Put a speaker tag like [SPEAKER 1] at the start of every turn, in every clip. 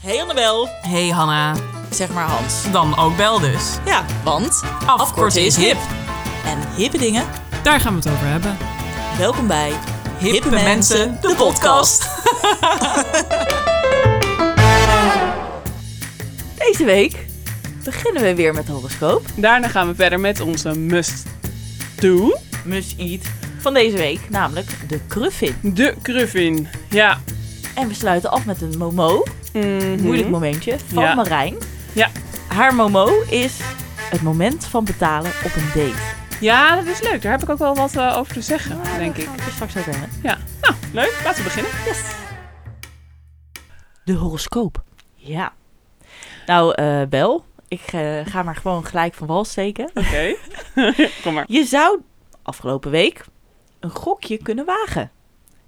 [SPEAKER 1] Hey Annabel.
[SPEAKER 2] Hey Hanna,
[SPEAKER 1] Zeg maar Hans.
[SPEAKER 2] dan ook bel dus.
[SPEAKER 1] Ja, want afkorten is hip. En hippe dingen.
[SPEAKER 2] Daar gaan we het over hebben.
[SPEAKER 1] Welkom bij Hippe,
[SPEAKER 2] Mensen, de
[SPEAKER 1] Deze week beginnen we weer met horoscoop.
[SPEAKER 3] Daarna gaan we verder met onze must do.
[SPEAKER 1] Must eat van deze week, namelijk de kruffin.
[SPEAKER 3] De Cruffin. Ja.
[SPEAKER 1] En we sluiten af met een momo,
[SPEAKER 3] Mhm.
[SPEAKER 1] moeilijk momentje, van
[SPEAKER 3] Ja.
[SPEAKER 1] Marijn.
[SPEAKER 3] Ja.
[SPEAKER 1] Haar momo is het moment van betalen op een date.
[SPEAKER 3] Ja, dat is leuk. Daar heb ik ook wel wat eh, over te zeggen,
[SPEAKER 1] Maar
[SPEAKER 3] denk
[SPEAKER 1] daar
[SPEAKER 3] ik.
[SPEAKER 1] gaan we het straks over hebben.
[SPEAKER 3] Ja. Nou, leuk. Laten we beginnen.
[SPEAKER 1] De horoscoop. Ja. Nou, eh, Bel, ik eh, ga maar gewoon gelijk van wal steken.
[SPEAKER 3] Oké. Kom maar.
[SPEAKER 1] Je zou afgelopen week een gokje kunnen wagen.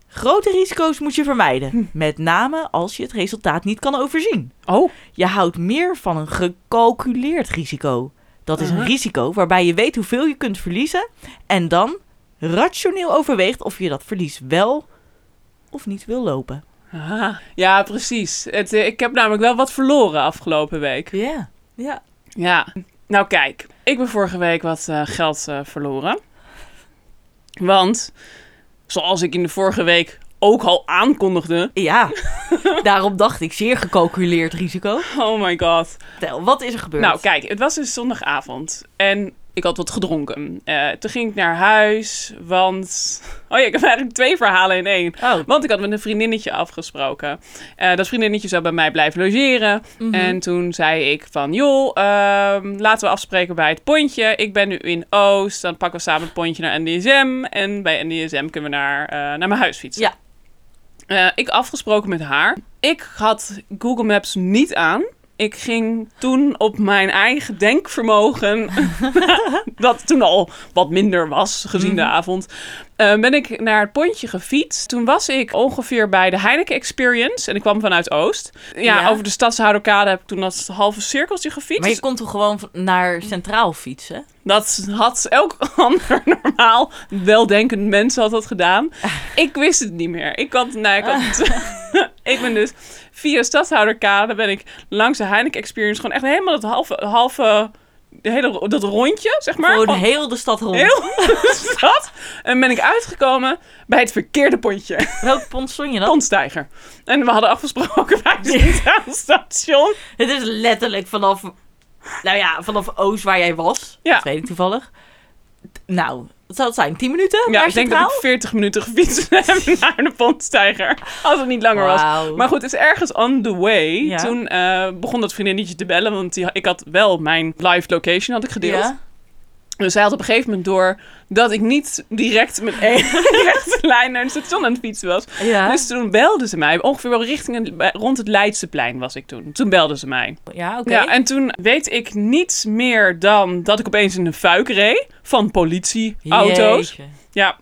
[SPEAKER 1] Grote risico's moet je vermijden, met name als je het resultaat niet kan overzien.
[SPEAKER 3] Oh.
[SPEAKER 1] Je houdt meer van een gecalculeerd risico. Dat is een
[SPEAKER 3] Aha.
[SPEAKER 1] risico waarbij je weet hoeveel je kunt verliezen en dan rationeel overweegt of je dat verlies wel of niet wil lopen.
[SPEAKER 3] Ah, ja, precies. Het, eh, ik heb namelijk wel wat verloren afgelopen week.
[SPEAKER 1] Ja, ja.
[SPEAKER 3] Ja. Nou, kijk. Ik ben vorige week wat eh, geld eh, verloren. Want, zoals ik in de vorige week ook al aankondigde.
[SPEAKER 1] Ja, daarom dacht ik zeer gecalculeerd risico.
[SPEAKER 3] Oh my god.
[SPEAKER 1] Vertel, wat is er gebeurd?
[SPEAKER 3] Nou, kijk, het was dus zondagavond en ik had wat gedronken. Eh, toen ging ik naar huis, want... Oh ja, ik heb eigenlijk twee verhalen in één.
[SPEAKER 1] Oh,
[SPEAKER 3] Want ik had met een vriendinnetje afgesproken. Eh, dat vriendinnetje zou bij mij blijven logeren.
[SPEAKER 1] mhm.
[SPEAKER 3] En toen zei ik van, joh, ehm, laten we afspreken bij het pontje. Ik ben nu in Oost, dan pakken we samen het pontje naar NDSM. En bij NDSM kunnen we naar, eh, naar mijn huis fietsen.
[SPEAKER 1] Ja.
[SPEAKER 3] Eh, ik afgesproken met haar. Ik had Google Maps niet aan. Ik ging toen op mijn eigen denkvermogen, dat toen al wat minder was gezien
[SPEAKER 1] Mhm.
[SPEAKER 3] de avond, eh, ben ik naar het pontje gefietst. Toen was ik ongeveer bij de Heineken Experience en ik kwam vanuit Oost. Ja,
[SPEAKER 1] Ja.
[SPEAKER 3] over de Stadshouderkade heb ik toen dat halve cirkeltje gefietst.
[SPEAKER 1] maar je kon toch gewoon v- naar Centraal fietsen?
[SPEAKER 3] Dat had elk ander normaal weldenkend mens had dat gedaan. Ik wist het niet meer. Ik had, nou, ik, had, ik ben dus via Stadhouderkade ben ik langs de Heineken Experience gewoon echt helemaal dat halve, halve de hele, dat rondje, zeg maar.
[SPEAKER 1] gewoon
[SPEAKER 3] Gewoon
[SPEAKER 1] heel de stad rond.
[SPEAKER 3] heel de stad. En ben ik uitgekomen bij het verkeerde pontje.
[SPEAKER 1] Welk pont stond je dan?
[SPEAKER 3] Pontstijger. En we hadden afgesproken bij het Centraal station.
[SPEAKER 1] Het is letterlijk vanaf, nou ja, vanaf Oost waar jij was.
[SPEAKER 3] Ja.
[SPEAKER 1] Dat weet ik toevallig. T- Nou, wat zou het zijn? 10 minuten?
[SPEAKER 3] Ja,
[SPEAKER 1] naar
[SPEAKER 3] ik denk dat
[SPEAKER 1] Centraal?
[SPEAKER 3] ik 40 minuten gefietst heb naar de Pontstijger. Als het niet langer was.
[SPEAKER 1] Wauw.
[SPEAKER 3] Maar goed, het is ergens on the way.
[SPEAKER 1] Ja.
[SPEAKER 3] Toen eh, begon dat vriendinnetje te bellen, want die, ik had wel mijn live location had ik gedeeld.
[SPEAKER 1] Ja.
[SPEAKER 3] Dus zij had op een gegeven moment door dat ik niet direct met één rechte lijn naar het station aan het fietsen was.
[SPEAKER 1] Ja.
[SPEAKER 3] Dus toen belde ze mij, ongeveer wel richting een- bij- rond het Leidseplein was ik toen. Toen belde ze mij.
[SPEAKER 1] ja, oké.
[SPEAKER 3] Ja, en toen weet ik niets meer dan dat ik opeens in een fuik reed van politieauto's.
[SPEAKER 1] Jeetje.
[SPEAKER 3] Ja,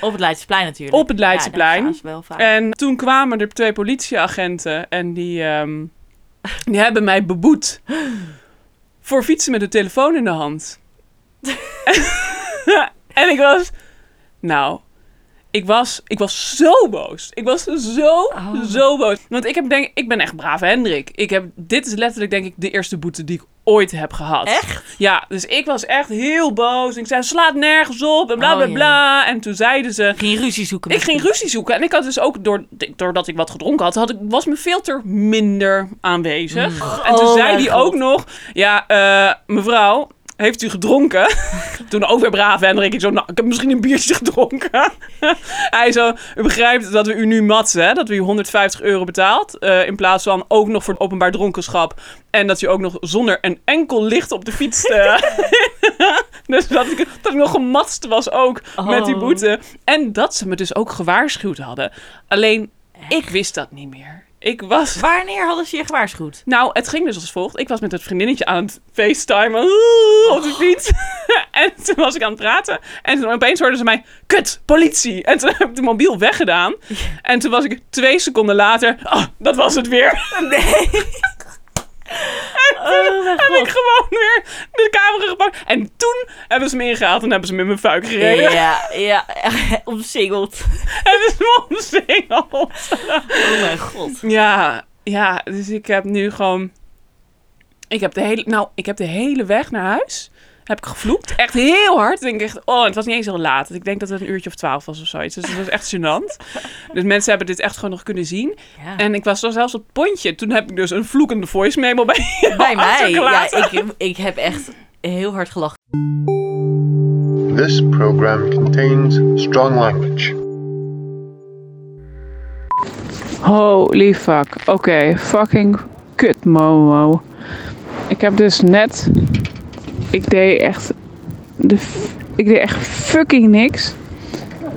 [SPEAKER 1] Op het Leidseplein natuurlijk.
[SPEAKER 3] Op het Leidseplein.
[SPEAKER 1] Ja, daar gaan ze wel vaak.
[SPEAKER 3] En toen kwamen er twee politieagenten en die, ehm, die hebben mij beboet voor fietsen met een telefoon in de hand. en ik was, nou, ik was, ik was zo boos. Ik was zo,
[SPEAKER 1] Oh.
[SPEAKER 3] zo boos. Want ik, heb denk, ik ben echt brave Hendrik. Ik heb, dit is letterlijk denk ik de eerste boete die ik ooit heb gehad.
[SPEAKER 1] Echt?
[SPEAKER 3] Ja, dus ik was echt heel boos. Ik zei, slaat nergens op en bla
[SPEAKER 1] Oh,
[SPEAKER 3] bla
[SPEAKER 1] jee.
[SPEAKER 3] bla. En toen zeiden ze,
[SPEAKER 1] Ging je ruzie zoeken?
[SPEAKER 3] ik
[SPEAKER 1] met-
[SPEAKER 3] ging ruzie zoeken. En ik had dus ook, door, doordat ik wat gedronken had, had ik, was mijn filter minder aanwezig. En toen
[SPEAKER 1] Oh
[SPEAKER 3] zei
[SPEAKER 1] mijn
[SPEAKER 3] die
[SPEAKER 1] God.
[SPEAKER 3] ook nog, ja, eh, mevrouw, heeft u gedronken? toen ook weer braaf Hendrik. Ik zo, nou, ik heb misschien een biertje gedronken. Hij zo, u begrijpt dat we u nu matsen, hè? Dat we u 150 euro betaalt, eh, in plaats van ook nog voor openbaar dronkenschap. En dat u ook nog zonder een enkel licht op de fiets... eh, dus dat ik, dat ik nog gematst was ook met die
[SPEAKER 1] Oh.
[SPEAKER 3] boete. En dat ze me dus ook gewaarschuwd hadden. Alleen, ik wist dat niet meer. Ik was...
[SPEAKER 1] Wanneer hadden ze je gewaarschuwd?
[SPEAKER 3] Nou, het ging dus als volgt. Ik was met het vriendinnetje aan het facetimen op de fiets. En toen was ik aan het praten. En toen opeens hoorden ze mij, kut, politie. En toen heb ik de mobiel weggedaan. En toen was ik twee seconden later, ah, dat was het weer.
[SPEAKER 1] Nee. Oh, mijn
[SPEAKER 3] Heb ik
[SPEAKER 1] God.
[SPEAKER 3] gewoon weer de camera gepakt. En toen hebben ze me ingehaald en hebben ze me in mijn fuik gereden.
[SPEAKER 1] Ja, ja, omsingeld.
[SPEAKER 3] Hebben ze me omzingeld.
[SPEAKER 1] Oh mijn god.
[SPEAKER 3] Ja, ja, dus ik heb nu gewoon... Ik heb de hele, nou, ik heb de hele weg naar huis... Heb ik gevloekt. Echt heel hard. Ik Denk echt, oh, het was niet eens heel laat. Ik denk dat het een uurtje of twaalf was of zoiets. Dus het was echt gênant. Dus mensen hebben dit echt gewoon nog kunnen zien.
[SPEAKER 1] Ja.
[SPEAKER 3] En ik was zo zelfs op het pontje. Toen heb ik dus een vloekende voice memo bij
[SPEAKER 1] Bij mij. Ja,
[SPEAKER 3] achtergelaten.
[SPEAKER 1] ik, ik heb echt heel hard gelachen.
[SPEAKER 4] This program contains strong language.
[SPEAKER 5] Holy fuck. Oké, fucking kut Momo. Ik heb dus net. Ik deed echt. De, f- ik deed echt fucking niks.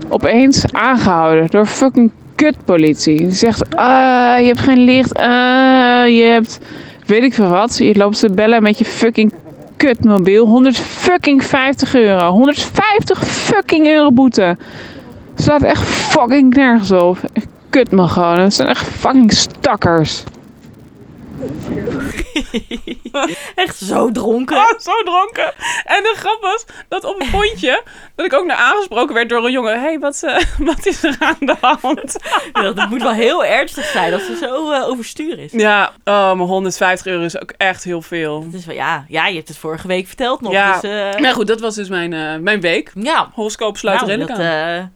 [SPEAKER 5] Opeens aangehouden door fucking kutpolitie. Die zegt: ah, je hebt geen licht. ah, je hebt. Weet ik veel wat. Je loopt te bellen met je fucking kutmobiel. 100 fucking 50 euro. 150 fucking euro boete. Het slaat echt fucking nergens op. Echt kut me gewoon. Het zijn echt fucking stakkers.
[SPEAKER 1] Echt zo dronken.
[SPEAKER 3] was zo dronken. En de grap was dat op een pontje, dat ik ook naar aangesproken werd door een jongen. Hé, hey, wat, eh, wat is er aan de hand?
[SPEAKER 1] Dat moet wel heel ernstig zijn als ze zo eh, overstuur is.
[SPEAKER 3] Ja, oh, maar 150 euro is ook echt heel veel.
[SPEAKER 1] Dus wel- ja, ja, je hebt het vorige week verteld nog.
[SPEAKER 3] Ja.
[SPEAKER 1] Dus, eh,
[SPEAKER 3] Maar goed, dat was dus mijn, eh, mijn week.
[SPEAKER 1] ja.
[SPEAKER 3] Horoscoop sluit
[SPEAKER 1] Nou,
[SPEAKER 3] er redelijk
[SPEAKER 1] dat,
[SPEAKER 3] aan.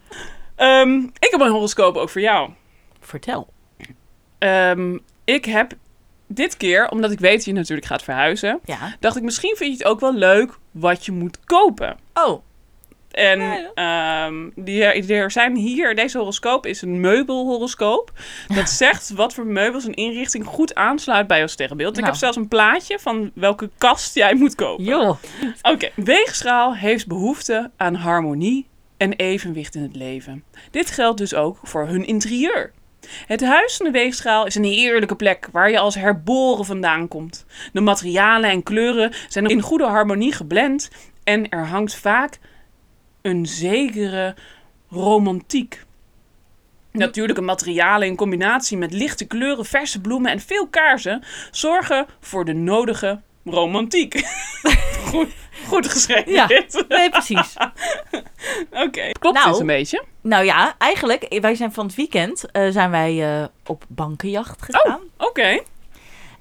[SPEAKER 1] eh,
[SPEAKER 3] Ehm, ik heb een horoscoop ook voor jou.
[SPEAKER 1] vertel.
[SPEAKER 3] Ehm, ik heb dit keer, omdat ik weet dat je natuurlijk gaat verhuizen,
[SPEAKER 1] Ja.
[SPEAKER 3] dacht ik misschien vind je het ook wel leuk wat je moet kopen.
[SPEAKER 1] Oh,
[SPEAKER 3] En
[SPEAKER 1] Ja,
[SPEAKER 3] ehm, die, er zijn hier, deze horoscoop is een meubelhoroscoop. Dat zegt wat voor meubels en inrichting goed aansluit bij jouw sterrenbeeld. Ik
[SPEAKER 1] Nou.
[SPEAKER 3] heb zelfs een plaatje van welke kast jij moet kopen.
[SPEAKER 1] joh.
[SPEAKER 3] Oké, weegschaal heeft behoefte aan harmonie en evenwicht in het leven. Dit geldt dus ook voor hun interieur. Het huis van de weegschaal is een heerlijke plek waar je als herboren vandaan komt. De materialen en kleuren zijn in goede harmonie geblend en er hangt vaak een zekere romantiek. Natuurlijke materialen in combinatie met lichte kleuren, verse bloemen en veel kaarsen zorgen voor de nodige romantiek. goed, goed geschreven
[SPEAKER 1] Ja.
[SPEAKER 3] dit.
[SPEAKER 1] Nee, precies.
[SPEAKER 3] Oké. Klopt
[SPEAKER 1] Nou.
[SPEAKER 3] dit een beetje?
[SPEAKER 1] Nou ja, eigenlijk, wij zijn van het weekend eh, zijn wij eh, op
[SPEAKER 3] Oh.
[SPEAKER 1] bankenjacht gegaan.
[SPEAKER 3] Oké.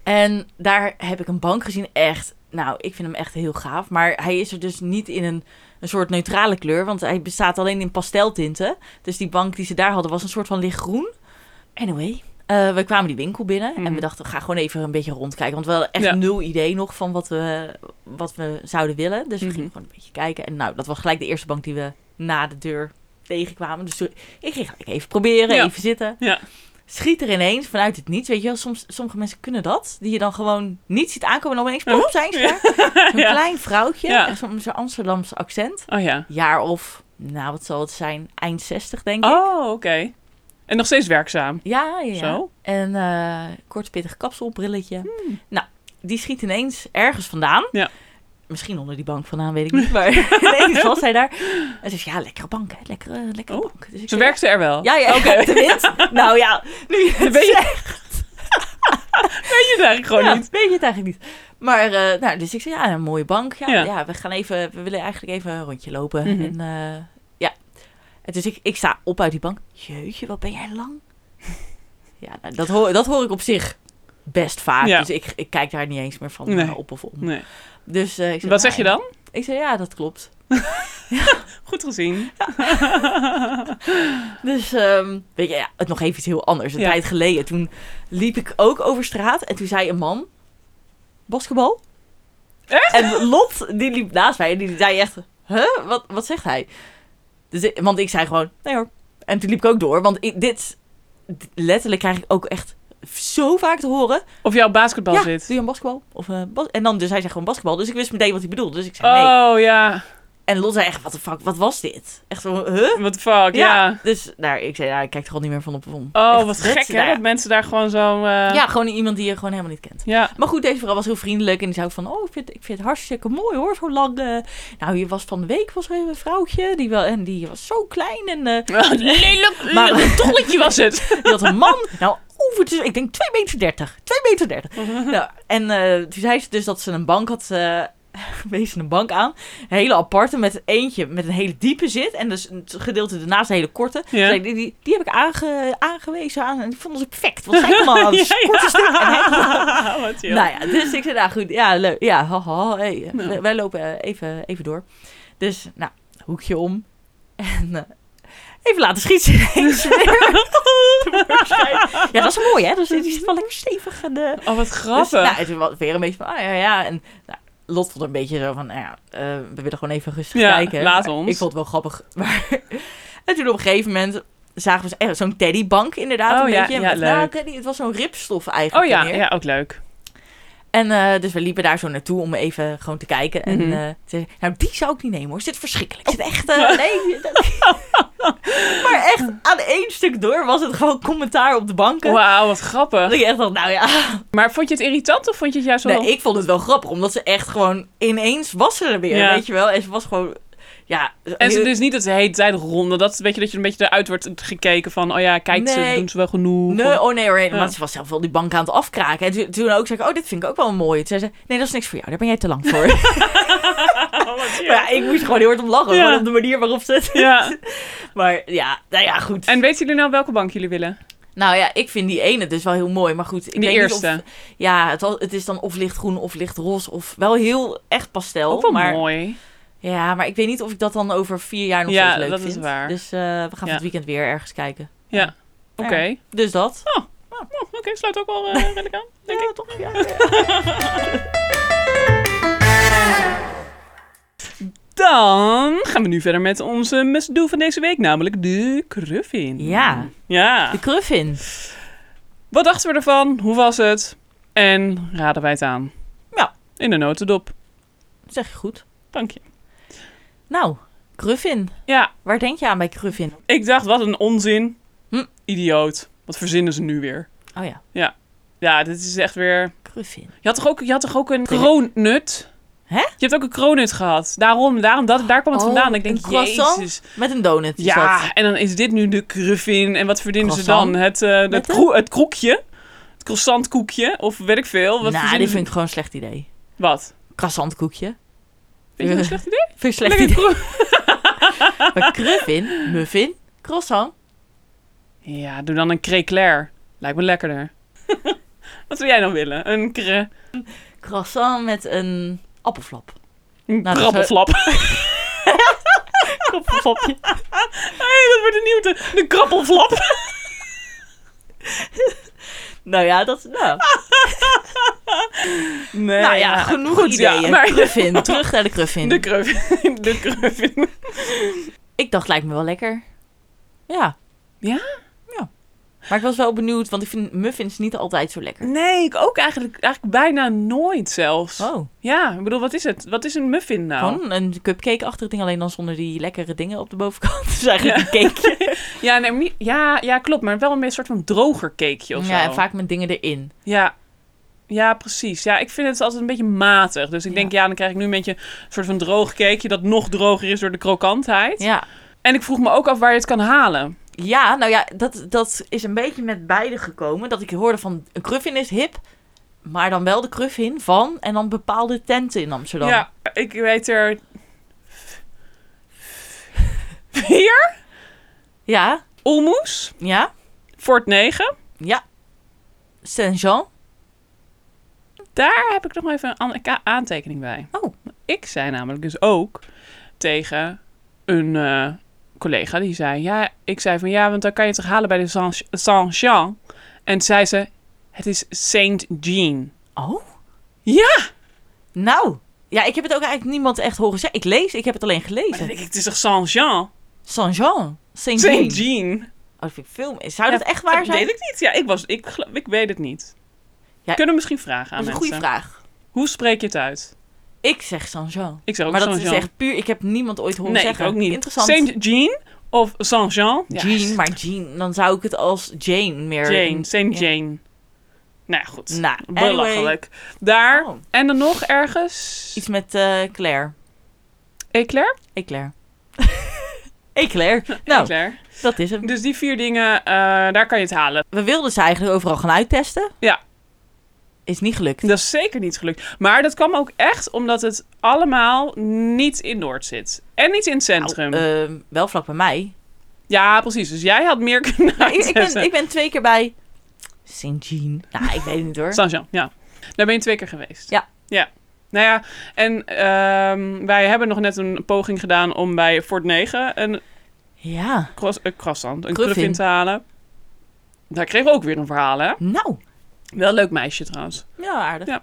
[SPEAKER 1] En daar heb ik een bank gezien, echt. Nou, ik vind hem echt heel gaaf. Maar hij is er dus niet in een, een soort neutrale kleur. Want hij bestaat alleen in pasteltinten. Dus die bank die ze daar hadden was een soort van lichtgroen. Anyway, eh, we kwamen die winkel binnen. En we dachten, we gaan gewoon even een beetje rondkijken. Want we hadden echt
[SPEAKER 3] Mhm. Ja.
[SPEAKER 1] nul idee nog van wat we, wat we zouden willen. Dus we
[SPEAKER 3] Mhm.
[SPEAKER 1] gingen gewoon een beetje kijken. En nou, dat was gelijk de eerste bank die we na de deur tegenkwamen. Dus toen- ik ging gelijk even proberen,
[SPEAKER 3] Ja.
[SPEAKER 1] even zitten
[SPEAKER 3] Ja.
[SPEAKER 1] schiet er ineens vanuit het niets. Weet je wel, soms, sommige mensen kunnen dat. Die je dan gewoon niet ziet aankomen en dan ineens plop zijn ze daar. Zo'n
[SPEAKER 3] Mhm. Ja.
[SPEAKER 1] klein vrouwtje,
[SPEAKER 3] Ja.
[SPEAKER 1] echt zo'n zo'n Amsterdamse accent.
[SPEAKER 3] Oh ja.
[SPEAKER 1] Jaar of, nou wat zal het zijn, eind 60 denk ik.
[SPEAKER 3] Oh, oké. En nog steeds werkzaam.
[SPEAKER 1] Ja, ja, ja.
[SPEAKER 3] Zo. Hmm.
[SPEAKER 1] En eh kort pittig kapselbrilletje. Nou, die schiet ineens ergens vandaan.
[SPEAKER 3] Ja.
[SPEAKER 1] Misschien onder die bank vandaan, weet ik niet. Maar ineens was hij daar. En ze zei, ja, lekkere bank, hè. Lekkere, lekkere
[SPEAKER 3] Oh,
[SPEAKER 1] bank. Dus ik
[SPEAKER 3] Ze
[SPEAKER 1] zei,
[SPEAKER 3] werkte er wel.
[SPEAKER 1] Ja, ja, ja, tenminste. Nou ja, nu je het
[SPEAKER 3] ben je-
[SPEAKER 1] zegt.
[SPEAKER 3] Weet je het eigenlijk gewoon
[SPEAKER 1] ja,
[SPEAKER 3] niet.
[SPEAKER 1] weet je het eigenlijk niet. Maar, eh, nou, dus ik zei, ja, een mooie bank. Ja,
[SPEAKER 3] Ja.
[SPEAKER 1] ja. we gaan even, we willen eigenlijk even een rondje lopen.
[SPEAKER 3] Mhm.
[SPEAKER 1] En, eh, ja. En dus ik, ik sta op uit die bank. Jeetje, wat ben jij lang? ja, nou, dat, hoor, dat hoor ik op zich best vaak.
[SPEAKER 3] Ja.
[SPEAKER 1] Dus ik, ik kijk daar niet eens meer van
[SPEAKER 3] Nee.
[SPEAKER 1] eh, op of om.
[SPEAKER 3] Nee.
[SPEAKER 1] Dus, eh, ik zei, nou,
[SPEAKER 3] Wat zeg je
[SPEAKER 1] ja.
[SPEAKER 3] dan?
[SPEAKER 1] Ik zei, ja, dat klopt.
[SPEAKER 3] Goed gezien.
[SPEAKER 1] Dus, ehm, weet je, ja, het nog even iets heel anders. Een
[SPEAKER 3] Ja.
[SPEAKER 1] tijd geleden, toen liep ik ook over straat. En toen zei een man, basketbal.
[SPEAKER 3] Echt?
[SPEAKER 1] En Lot, die liep naast mij en die zei echt, huh, wat, wat zegt hij? Dus, ik- want ik zei gewoon, nee hoor. En toen liep ik ook door, want ik, dit, dit- letterlijk krijg ik ook echt zo vaak te horen.
[SPEAKER 3] Of jouw basketbal
[SPEAKER 1] ja,
[SPEAKER 3] zit.
[SPEAKER 1] doe je een basketbal? Of, eh, bas- en dan, dus hij zei gewoon basketbal. Dus ik wist meteen wat hij bedoelde, dus ik zei nee.
[SPEAKER 3] Oh ja.
[SPEAKER 1] En Lot zei echt, wat de fuck, wat was dit? Echt zo, huh?
[SPEAKER 3] What the fuck, ja.
[SPEAKER 1] Dus, nou, ik zei, nou, ik kijk er al niet meer van op de om.
[SPEAKER 3] Oh,
[SPEAKER 1] Echt,
[SPEAKER 3] wat
[SPEAKER 1] dat-
[SPEAKER 3] gek hè,
[SPEAKER 1] nou ja.
[SPEAKER 3] dat mensen daar gewoon zo... eh,
[SPEAKER 1] Ja, gewoon iemand die je gewoon helemaal niet kent.
[SPEAKER 3] Ja.
[SPEAKER 1] Maar goed, deze vrouw was heel vriendelijk en die zei ook van... Oh, ik vind, ik vind het hartstikke mooi hoor, zo lang. eh." nou, hier was van de week was er een vrouwtje die wel, en die was zo klein en eh,
[SPEAKER 3] Lelijk,
[SPEAKER 1] Maar-
[SPEAKER 3] lelijk tolletje was het.
[SPEAKER 1] die had een man. nou, over de, ik
[SPEAKER 3] Mhm.
[SPEAKER 1] denk 2 meter 30. 2 meter 30. nou, en eh, toen zei ze dus dat ze een bank had... eh, wees een bank aan. Een hele aparte met eentje met een hele diepe zit. En dus een gedeelte daarnaast een hele korte.
[SPEAKER 3] Ja.
[SPEAKER 1] Zei ik, die, die, die heb ik aange, aangewezen aan. En die vonden ze perfect. Want zij kwam al aan het
[SPEAKER 3] Ja, ja.
[SPEAKER 1] korte stuk. En hij kwam-
[SPEAKER 3] Wat chill.
[SPEAKER 1] nou ja, dus ik zei, nou goed, ja, leuk. Ja, haha, hey, eh, wij, wij lopen eh, even, even door. Dus, nou, hoekje om. En eh, even laten schieten ineens weer. ja, dat is mooi, hè? Dus die zit wel lekker stevig aan de...
[SPEAKER 3] Oh, wat grappig.
[SPEAKER 1] Dus, nou, het was weer een beetje van, ah ja, ja. En nou, Lot vond het een beetje zo van, nou ja, eh, we willen gewoon even rustig
[SPEAKER 3] Ja,
[SPEAKER 1] kijken.
[SPEAKER 3] laat
[SPEAKER 1] Maar
[SPEAKER 3] ons.
[SPEAKER 1] Ik vond het wel grappig. Maar, en toen op een gegeven moment zagen we zo- echt zo'n teddybank inderdaad.
[SPEAKER 3] Oh,
[SPEAKER 1] een
[SPEAKER 3] ja,
[SPEAKER 1] beetje.
[SPEAKER 3] ja,
[SPEAKER 1] Met- nou,
[SPEAKER 3] leuk.
[SPEAKER 1] teddy, het was zo'n ripstof eigenlijk.
[SPEAKER 3] oh ja,
[SPEAKER 1] meer.
[SPEAKER 3] ja, ook leuk.
[SPEAKER 1] En eh, dus we liepen daar zo naartoe om even gewoon te kijken. En
[SPEAKER 3] Mhm.
[SPEAKER 1] eh, toen zei ze, nou die zou ik niet nemen hoor, is dit verschrikkelijk. Is dit echt, eh,
[SPEAKER 3] Oh.
[SPEAKER 1] nee. dat- maar echt, aan één stuk door was het gewoon commentaar op de banken.
[SPEAKER 3] Wauw, wat grappig.
[SPEAKER 1] Dat ik echt dacht, nou ja,
[SPEAKER 3] Maar vond je het irritant of vond je het juist wel...
[SPEAKER 1] Nee, ik vond het wel grappig, omdat ze echt gewoon ineens was ze er weer,
[SPEAKER 3] Ja.
[SPEAKER 1] weet je wel. En ze was gewoon, ja...
[SPEAKER 3] En ze dus niet dat ze heet tijd ronden. Dat, weet je, dat je er een beetje eruit wordt gekeken van... Oh ja, kijk, ze
[SPEAKER 1] Nee.
[SPEAKER 3] doen ze wel genoeg.
[SPEAKER 1] Nee,
[SPEAKER 3] Of-
[SPEAKER 1] oh nee, hoor, nee,
[SPEAKER 3] Ja.
[SPEAKER 1] want ze was zelf wel die bank aan het afkraken. En toen, toen ook zei ik, oh, dit vind ik ook wel mooi. Toen zei ze, nee, dat is niks voor jou, daar ben jij te lang voor. maar ja, ik moest gewoon heel hard om lachen,
[SPEAKER 3] Ja.
[SPEAKER 1] gewoon op de manier waarop ze het...
[SPEAKER 3] Ja.
[SPEAKER 1] Maar ja, nou ja, goed.
[SPEAKER 3] En weten jullie nou welke bank jullie willen?
[SPEAKER 1] Nou ja, ik vind die ene dus wel heel mooi, maar goed. Ik
[SPEAKER 3] Die
[SPEAKER 1] weet
[SPEAKER 3] eerste.
[SPEAKER 1] Niet of, ja, het, was- het is dan of lichtgroen of lichtroze of wel heel echt pastel.
[SPEAKER 3] ook wel
[SPEAKER 1] Oh, maar,
[SPEAKER 3] mooi.
[SPEAKER 1] Ja, maar ik weet niet of ik dat dan over vier jaar nog
[SPEAKER 3] Ja,
[SPEAKER 1] steeds leuk
[SPEAKER 3] dat is
[SPEAKER 1] vind.
[SPEAKER 3] waar.
[SPEAKER 1] Dus eh, we gaan van
[SPEAKER 3] Ja.
[SPEAKER 1] het weekend weer ergens kijken.
[SPEAKER 3] Oké.
[SPEAKER 1] Dus dat.
[SPEAKER 3] Oh, Oké, sluit ook wel eh, redelijk aan. Denk ik.
[SPEAKER 1] toch? Ja,
[SPEAKER 3] Dan gaan we nu verder met onze must do van deze week, namelijk de Cruffin. Ja.
[SPEAKER 1] de kruf in.
[SPEAKER 3] Wat dachten we ervan? Hoe was het? En raden wij het aan?
[SPEAKER 1] Ja.
[SPEAKER 3] In de notendop.
[SPEAKER 1] Dat zeg je goed.
[SPEAKER 3] Dank je.
[SPEAKER 1] Nou, kruf in.
[SPEAKER 3] Ja,
[SPEAKER 1] Waar denk je aan bij kruf in?
[SPEAKER 3] ik dacht, wat een onzin.
[SPEAKER 1] Hm.
[SPEAKER 3] Idioot. Wat verzinnen ze nu weer?
[SPEAKER 1] Oh ja,
[SPEAKER 3] Ja, dit is echt weer...
[SPEAKER 1] kruf in.
[SPEAKER 3] Je had toch ook, je had toch ook een
[SPEAKER 1] Kruf.
[SPEAKER 3] kroonnut?
[SPEAKER 1] Hè?
[SPEAKER 3] Je hebt ook een kroonnut gehad. Daarom, daarom dat, daar kwam het
[SPEAKER 1] Oh,
[SPEAKER 3] vandaan. Ik
[SPEAKER 1] een
[SPEAKER 3] denk,
[SPEAKER 1] croissant?
[SPEAKER 3] jezus.
[SPEAKER 1] Met een donut. is
[SPEAKER 3] Ja,
[SPEAKER 1] dat.
[SPEAKER 3] en dan is dit nu de cruffin. En wat verdienen
[SPEAKER 1] Croissant?
[SPEAKER 3] ze dan? Het, eh het,
[SPEAKER 1] Met de-
[SPEAKER 3] kroe- het kroekje? Het croissantkoekje? Of weet ik veel. Wat
[SPEAKER 1] Nou,
[SPEAKER 3] verzinnen
[SPEAKER 1] dit
[SPEAKER 3] ze-
[SPEAKER 1] vind ik gewoon een slecht idee.
[SPEAKER 3] Wat?
[SPEAKER 1] Croissantkoekje.
[SPEAKER 3] Vind je dat een slecht idee?
[SPEAKER 1] Vind ik een slecht
[SPEAKER 3] Lekker
[SPEAKER 1] idee.
[SPEAKER 3] kroe-
[SPEAKER 1] Maar kruf in, muffin, croissant.
[SPEAKER 3] Ja, doe dan een créclair. Lijkt me lekkerder. Wat zou jij dan willen? Een, kre,
[SPEAKER 1] Croissant met een appelflap. Nou,
[SPEAKER 3] een
[SPEAKER 1] dat zou-
[SPEAKER 3] krabbelflap.
[SPEAKER 1] Appelflapje.
[SPEAKER 3] Hey, dat wordt een nieuw. De, de krabbelflap.
[SPEAKER 1] nou ja, dat... Nou,
[SPEAKER 3] Nee,
[SPEAKER 1] nou ja, genoeg
[SPEAKER 3] Goed, ja,
[SPEAKER 1] ideeën.
[SPEAKER 3] maar-
[SPEAKER 1] Kruf in. Terug naar de kruf in.
[SPEAKER 3] De cruffin. De cruffin.
[SPEAKER 1] Ik dacht, lijkt me wel lekker. Ja.
[SPEAKER 3] Ja?
[SPEAKER 1] Ja. Maar ik was wel benieuwd, want ik vind muffins niet altijd zo lekker.
[SPEAKER 3] Nee, ik ook eigenlijk, eigenlijk bijna nooit zelfs.
[SPEAKER 1] Oh,
[SPEAKER 3] Ja, ik bedoel, wat is het? Wat is een muffin nou?
[SPEAKER 1] gewoon een cupcake-achtig ding, alleen dan zonder die lekkere dingen op de bovenkant. Dus eigenlijk een cakeje.
[SPEAKER 3] Ja, nee, maar niet- ja, ja, klopt. Maar wel een soort van droger cakeje of
[SPEAKER 1] Ja,
[SPEAKER 3] zo.
[SPEAKER 1] en vaak met dingen erin.
[SPEAKER 3] Ja. Ja, precies. Ja, ik vind het altijd een beetje matig. Dus ik denk, ja, dan krijg ik nu een beetje een soort van droog cakeje... dat nog droger is door de krokantheid.
[SPEAKER 1] Ja.
[SPEAKER 3] En ik vroeg me ook af waar je het kan halen.
[SPEAKER 1] Ja, nou ja, dat, dat is een beetje met beide gekomen. Dat ik hoorde van, een cruffin is hip, maar dan wel de cruffin van... en dan bepaalde tenten in Amsterdam.
[SPEAKER 3] Ja, ik weet er... Vier?
[SPEAKER 1] Ja,
[SPEAKER 3] Olmoes?
[SPEAKER 1] ja,
[SPEAKER 3] Fort 9?
[SPEAKER 1] ja. Saint-Jean.
[SPEAKER 3] Daar heb ik nog even een an- ka- aantekening bij.
[SPEAKER 1] Oh.
[SPEAKER 3] Ik zei namelijk dus ook tegen een eh, collega die zei: Ja, ik zei van ja, want dan kan je het toch halen bij de Saint- Saint-Jean. En zei ze: Het is Saint Jean.
[SPEAKER 1] Oh.
[SPEAKER 3] Ja!
[SPEAKER 1] Nou, ja, ik heb het ook eigenlijk niemand echt horen zeggen. Ik lees, ik heb het alleen
[SPEAKER 3] Maar dan
[SPEAKER 1] gelezen.
[SPEAKER 3] denk ik, het is toch Saint-Jean?
[SPEAKER 1] Saint-Jean. Saint-Jean.
[SPEAKER 3] Saint Jean.
[SPEAKER 1] Oh, dat vind ik veel meer. Zou dat echt waar
[SPEAKER 3] Dat
[SPEAKER 1] zijn?
[SPEAKER 3] weet ik niet. Ja, ik, was, ik, gel- ik weet het niet.
[SPEAKER 1] Ja,
[SPEAKER 3] Kunnen we misschien vragen
[SPEAKER 1] Dat
[SPEAKER 3] aan
[SPEAKER 1] is een
[SPEAKER 3] mensen?
[SPEAKER 1] goede vraag.
[SPEAKER 3] Hoe spreek je het uit?
[SPEAKER 1] Ik zeg Saint-Jean.
[SPEAKER 3] Ik zeg ook
[SPEAKER 1] Maar dat is
[SPEAKER 3] Saint-Jean.
[SPEAKER 1] echt puur, ik heb niemand ooit horen
[SPEAKER 3] nee,
[SPEAKER 1] zeggen.
[SPEAKER 3] ik ook niet.
[SPEAKER 1] Interessant.
[SPEAKER 3] Saint Jean of Saint-Jean? Ja,
[SPEAKER 1] Jean, maar Jean, dan zou ik het als Jane meer...
[SPEAKER 3] Jane, Saint
[SPEAKER 1] ja.
[SPEAKER 3] Jane. Nou ja, goed.
[SPEAKER 1] Nou, anyway.
[SPEAKER 3] Belachelijk. Daar.
[SPEAKER 1] Oh.
[SPEAKER 3] En dan nog ergens.
[SPEAKER 1] Iets met eh Claire.
[SPEAKER 3] Eclair?
[SPEAKER 1] Eclair. Eclair. Nou,
[SPEAKER 3] Eclair.
[SPEAKER 1] dat is hem.
[SPEAKER 3] Dus die vier dingen, eh, daar kan je het halen.
[SPEAKER 1] We wilden ze eigenlijk overal gaan uittesten.
[SPEAKER 3] Ja.
[SPEAKER 1] Is niet gelukt.
[SPEAKER 3] Dat is zeker niet gelukt. Maar dat kwam ook echt omdat het allemaal niet in Noord zit. En niet in het centrum.
[SPEAKER 1] Nou, ehm, wel vlak bij mij.
[SPEAKER 3] ja, precies. Dus jij had meer kunnen
[SPEAKER 1] ik, ik, ben,
[SPEAKER 3] uitzetten.
[SPEAKER 1] ik ben twee keer bij St. Jean. Nou, ik weet het niet hoor.
[SPEAKER 3] Saint-Jean, ja. Daar ben je twee keer geweest.
[SPEAKER 1] Ja.
[SPEAKER 3] Ja. Nou ja, en ehm, wij hebben nog net een poging gedaan om bij Fort 9 een
[SPEAKER 1] Ja,
[SPEAKER 3] cross, een croissant, een
[SPEAKER 1] Cruffin.
[SPEAKER 3] cruffin te halen. Daar kregen we ook weer een verhaal, hè?
[SPEAKER 1] nou.
[SPEAKER 3] Wel een leuk meisje trouwens.
[SPEAKER 1] Ja, aardig.
[SPEAKER 3] Ja.